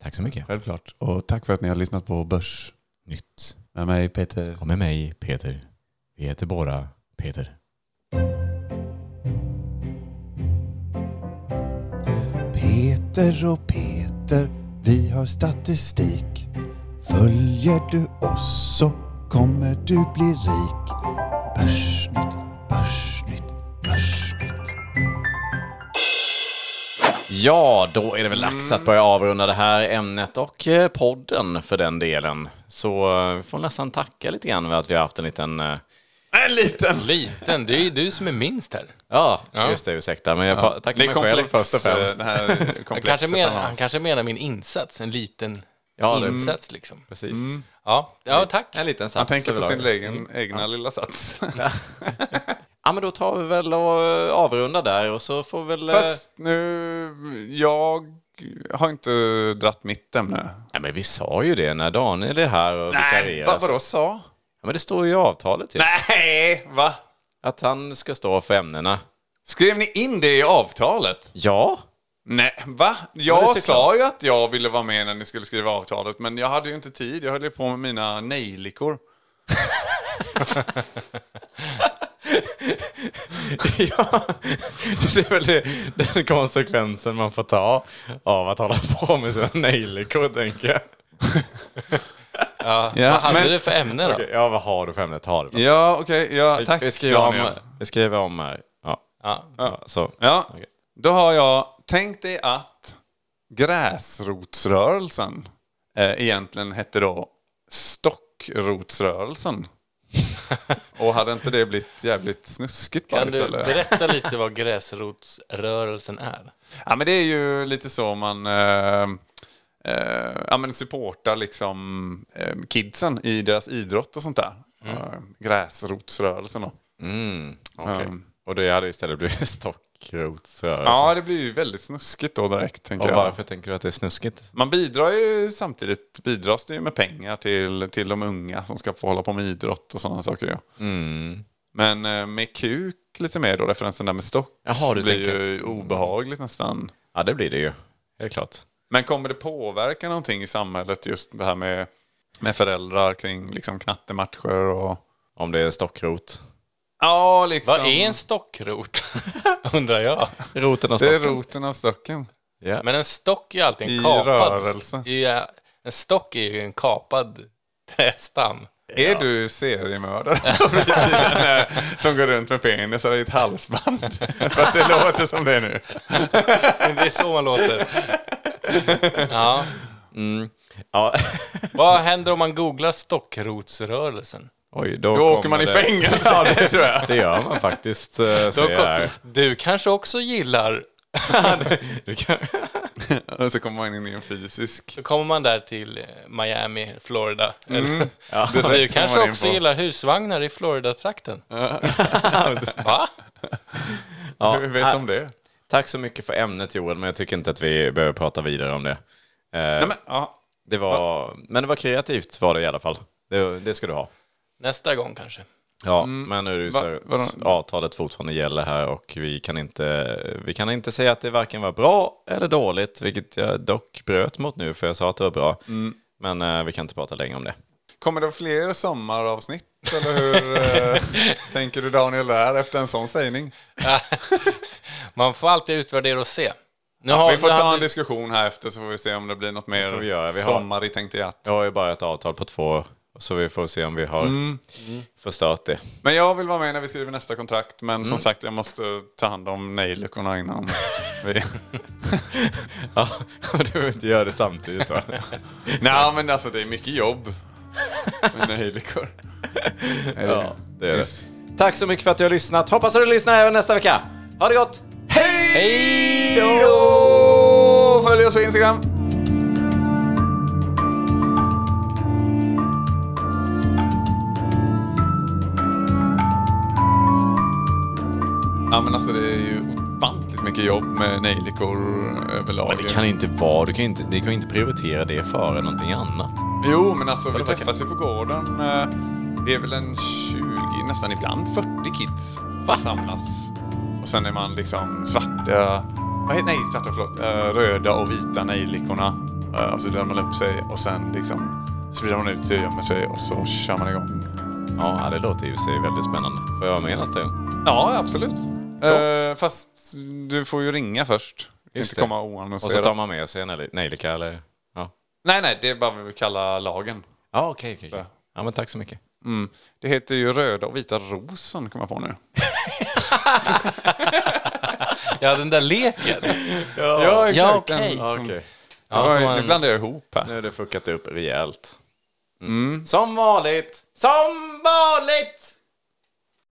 [SPEAKER 5] Tack så mycket.
[SPEAKER 6] självklart. Och tack för att ni har lyssnat på Börs
[SPEAKER 5] Nytt.
[SPEAKER 6] med mig Peter.
[SPEAKER 5] Och med mig Peter. Vi heter båda Peter.
[SPEAKER 6] Peter och Peter, vi har statistik. Följer du oss så kommer du bli rik. Börsnytt, börsnytt, börsnytt.
[SPEAKER 5] Ja, då är det väl dags att börja avrunda det här ämnet och eh, podden för den delen. Så eh, vi får nästan tacka lite grann för att vi har haft en liten... eh, En liten!
[SPEAKER 3] Liten, det är ju du som är minst här.
[SPEAKER 5] Ja,
[SPEAKER 3] Ja.
[SPEAKER 5] just det. Ursäkta. Men jag pa-
[SPEAKER 4] Det
[SPEAKER 5] tackar
[SPEAKER 4] är
[SPEAKER 5] mig själv
[SPEAKER 4] komplex,
[SPEAKER 5] först och främst.
[SPEAKER 4] eh, det här
[SPEAKER 3] Han
[SPEAKER 4] komplexet.
[SPEAKER 3] kanske, menar,
[SPEAKER 4] han har.
[SPEAKER 3] han kanske menar min insats, en liten
[SPEAKER 5] Ja, det-
[SPEAKER 3] insats liksom.
[SPEAKER 5] Precis.
[SPEAKER 3] Ja, ja tack.
[SPEAKER 5] En liten sats.
[SPEAKER 4] Han tänker på
[SPEAKER 5] överlag.
[SPEAKER 4] sin egen, egna lilla sats.
[SPEAKER 5] Ja, men då tar vi väl och eh, avrundar där och så får vi väl... eh,
[SPEAKER 4] Fast nu, jag har inte dratt mitt ämne.
[SPEAKER 5] Ja, men vi sa ju det när Daniel är här och
[SPEAKER 4] Nej,
[SPEAKER 5] vikarierar.
[SPEAKER 4] vad vadå sa?
[SPEAKER 5] Ja, men det står ju i avtalet ju.
[SPEAKER 4] Nej, va?
[SPEAKER 5] Att han ska stå för ämnena.
[SPEAKER 4] Skrev ni in det i avtalet?
[SPEAKER 5] Ja,
[SPEAKER 4] Nej, va?
[SPEAKER 5] det är
[SPEAKER 4] Jag
[SPEAKER 5] såklart.
[SPEAKER 4] sa ju att jag ville vara med när ni skulle skriva avtalet, men jag hade ju inte tid. Jag höll ju på med mina nejlikor.
[SPEAKER 5] (laughs) ja. Det är väl det, den konsekvensen man får ta av att hålla på med sina nejlikor, tänker jag.
[SPEAKER 3] Ja,
[SPEAKER 4] Ja,
[SPEAKER 3] vad hade
[SPEAKER 4] men-
[SPEAKER 3] du för ämne då?
[SPEAKER 5] Okej, ja, vad har du för ämne? Ta det bara.
[SPEAKER 4] Ja, okej. ja, tack.
[SPEAKER 5] vi, skriver om,
[SPEAKER 4] Daniel.
[SPEAKER 5] vi skriver om här. Ja.
[SPEAKER 3] Ja.
[SPEAKER 5] Ja, så.
[SPEAKER 4] Ja,
[SPEAKER 5] Okej.
[SPEAKER 4] då har jag tänkt dig att gräsrotsrörelsen eh, egentligen hette då stockrotsrörelsen. Och hade inte det blivit jävligt snuskigt
[SPEAKER 3] Kan
[SPEAKER 4] bajs
[SPEAKER 3] du
[SPEAKER 4] eller?
[SPEAKER 3] berätta lite vad
[SPEAKER 5] (laughs)
[SPEAKER 3] gräsrotsrörelsen är?
[SPEAKER 4] Ja men det är ju lite så man eh, eh, ja, men supportar liksom, eh, kidsen i deras idrott och sånt där. Eh, gräsrotsrörelsen då.
[SPEAKER 5] mm, Okej.
[SPEAKER 4] Um.
[SPEAKER 5] Och det hade istället blivit stockrotsrörelse.
[SPEAKER 4] Ja, det blir ju väldigt snuskigt då direkt tänker
[SPEAKER 5] och
[SPEAKER 4] jag.
[SPEAKER 5] varför tänker du att det är snuskigt?
[SPEAKER 4] Man bidrar ju samtidigt, bidras det ju med pengar till, till de unga som ska få hålla på med idrott och sådana saker ju.
[SPEAKER 5] Mm.
[SPEAKER 4] Men eh, med kuk lite mer då, referensen där med stock.
[SPEAKER 5] Jaha, du
[SPEAKER 4] blir
[SPEAKER 5] tänker
[SPEAKER 4] ju
[SPEAKER 5] att-
[SPEAKER 4] obehagligt nästan.
[SPEAKER 5] Ja, det blir det ju. Helt klart.
[SPEAKER 4] Men kommer det påverka någonting i samhället just det här med, med föräldrar kring liksom knattematcher och...
[SPEAKER 5] Om det är stockrot.
[SPEAKER 4] Ja, liksom.
[SPEAKER 3] Vad är en stockrot? (laughs) Undrar jag.
[SPEAKER 5] Roten av
[SPEAKER 4] Det är
[SPEAKER 5] stocken.
[SPEAKER 4] roten av stocken.
[SPEAKER 5] Ja.
[SPEAKER 3] Men en stock är ju alltid en
[SPEAKER 4] I
[SPEAKER 3] kapad...
[SPEAKER 4] rörelse.
[SPEAKER 3] I, eh, en stock är ju en kapad trästam.
[SPEAKER 4] Är
[SPEAKER 5] (laughs)
[SPEAKER 4] du seriemördare på fritiden, eh, som går runt med penisar i ett halsband? (laughs) För att det låter som det nu.
[SPEAKER 3] (laughs) Det är så man låter. Ja. Mm.
[SPEAKER 5] Ja.
[SPEAKER 3] Vad händer om man googlar stockrotesrörelsen?
[SPEAKER 5] Oj, då,
[SPEAKER 4] Då åker man i
[SPEAKER 5] kommer det-
[SPEAKER 4] fängelse, ja, det tror jag.
[SPEAKER 5] Det gör man faktiskt, eh,
[SPEAKER 3] Då
[SPEAKER 5] säger jag
[SPEAKER 3] kom,
[SPEAKER 5] här.
[SPEAKER 3] du kanske också gillar...
[SPEAKER 5] Du kan...
[SPEAKER 4] (laughs) Och så kommer man in i en fysisk.
[SPEAKER 3] Då kommer man där till eh, Miami, Florida. Eller, du
[SPEAKER 4] direkt Mm. kommer
[SPEAKER 3] kanske
[SPEAKER 4] man in
[SPEAKER 3] också
[SPEAKER 4] på.
[SPEAKER 3] gillar husvagnar i Florida-trakten. Va?
[SPEAKER 4] (laughs)
[SPEAKER 5] Ja.
[SPEAKER 4] Hur vet de det?
[SPEAKER 5] Tack så mycket för ämnet Joel, men jag tycker inte att vi behöver prata vidare om det. Eh,
[SPEAKER 4] Nej, men, ja.
[SPEAKER 5] det var... Men det var kreativt var det i alla fall. Det, det ska du ha.
[SPEAKER 3] Nästa gång kanske.
[SPEAKER 5] Ja, men nu är det ju
[SPEAKER 4] Va-
[SPEAKER 5] så
[SPEAKER 4] vadå?
[SPEAKER 5] avtalet fortfarande gäller här och vi kan, inte, vi kan inte säga att det varken var bra eller dåligt, vilket jag dock bröt mot nu för jag sa att det var bra.
[SPEAKER 4] Mm.
[SPEAKER 5] Men eh, vi kan inte prata längre om det.
[SPEAKER 4] Kommer det fler sommaravsnitt? Eller hur (laughs) eh, tänker du Daniel där efter en sån sägning?
[SPEAKER 3] Man får alltid utvärdera och se. Nu
[SPEAKER 4] vi får
[SPEAKER 3] nu
[SPEAKER 4] ta
[SPEAKER 3] hade-
[SPEAKER 4] en diskussion här efter så får vi se om det blir något mer
[SPEAKER 5] får vi göra. Vi har-
[SPEAKER 4] sommar i tänkte jag.
[SPEAKER 5] Jag har ju bara ett avtal på två år, så vi får se om vi har
[SPEAKER 4] Mm.
[SPEAKER 5] förstört det.
[SPEAKER 4] Men jag vill vara med när vi skriver nästa kontrakt. Men som sagt, jag måste ta hand om nejlikorna (laughs) innan. vi...
[SPEAKER 5] (laughs) Ja, du behöver inte göra det samtidigt (laughs) va?
[SPEAKER 4] Nej, men alltså det är mycket jobb med nejlikor.
[SPEAKER 5] ja, det är
[SPEAKER 4] Yes.
[SPEAKER 5] det. Tack så mycket för att du har lyssnat. Hoppas att du lyssnar även nästa vecka. Ha det gott!
[SPEAKER 4] Hej då! Följ oss på Instagram. Ja men alltså det är ju ofantligt mycket jobb med nejlikor överlag.
[SPEAKER 5] Men det kan inte vara, du kan ju inte, ni kan ju inte prioritera det före någonting annat.
[SPEAKER 4] Jo men alltså vi
[SPEAKER 5] Vadå, vad
[SPEAKER 4] träffas ju på gården. eh, Det är väl en 20, nästan ibland 40 kids som samlas. Och sen är man liksom svarta, vad heter, nej svarta förlåt, eh, röda och vita nejlikorna. Eh, Och så delar man upp sig och sen liksom sprider man ut sig och gömmer sig och så kör man igång.
[SPEAKER 5] Ja, det låter ju i sig väldigt spännande. Får jag vara med nästa gång?
[SPEAKER 4] Ja, absolut. Eh, fast du får ju ringa först. Du kan
[SPEAKER 5] Just
[SPEAKER 4] inte
[SPEAKER 5] det.
[SPEAKER 4] komma
[SPEAKER 5] Och så tar
[SPEAKER 4] oannonserat.
[SPEAKER 5] man med sig en nejl- nejlika eller? Ja,
[SPEAKER 4] Nej, nej, det är bara vad vi kallar lagen.
[SPEAKER 5] ja okej, okej.
[SPEAKER 4] Så.
[SPEAKER 5] okej. Ja, men tack så mycket.
[SPEAKER 4] Mm. Det heter ju röda och vita rosen, kommer jag på (laughs) nu.
[SPEAKER 3] Ja, den där leken.
[SPEAKER 4] Ja,
[SPEAKER 3] Ja,
[SPEAKER 4] exakt.
[SPEAKER 3] okej.
[SPEAKER 4] Den som-
[SPEAKER 3] Ja,
[SPEAKER 4] Oj,
[SPEAKER 3] som
[SPEAKER 4] Nu
[SPEAKER 3] man-
[SPEAKER 4] blandar jag ihop här.
[SPEAKER 5] Nu Mm. har det fuckat upp rejält. Som vanligt! Som vanligt!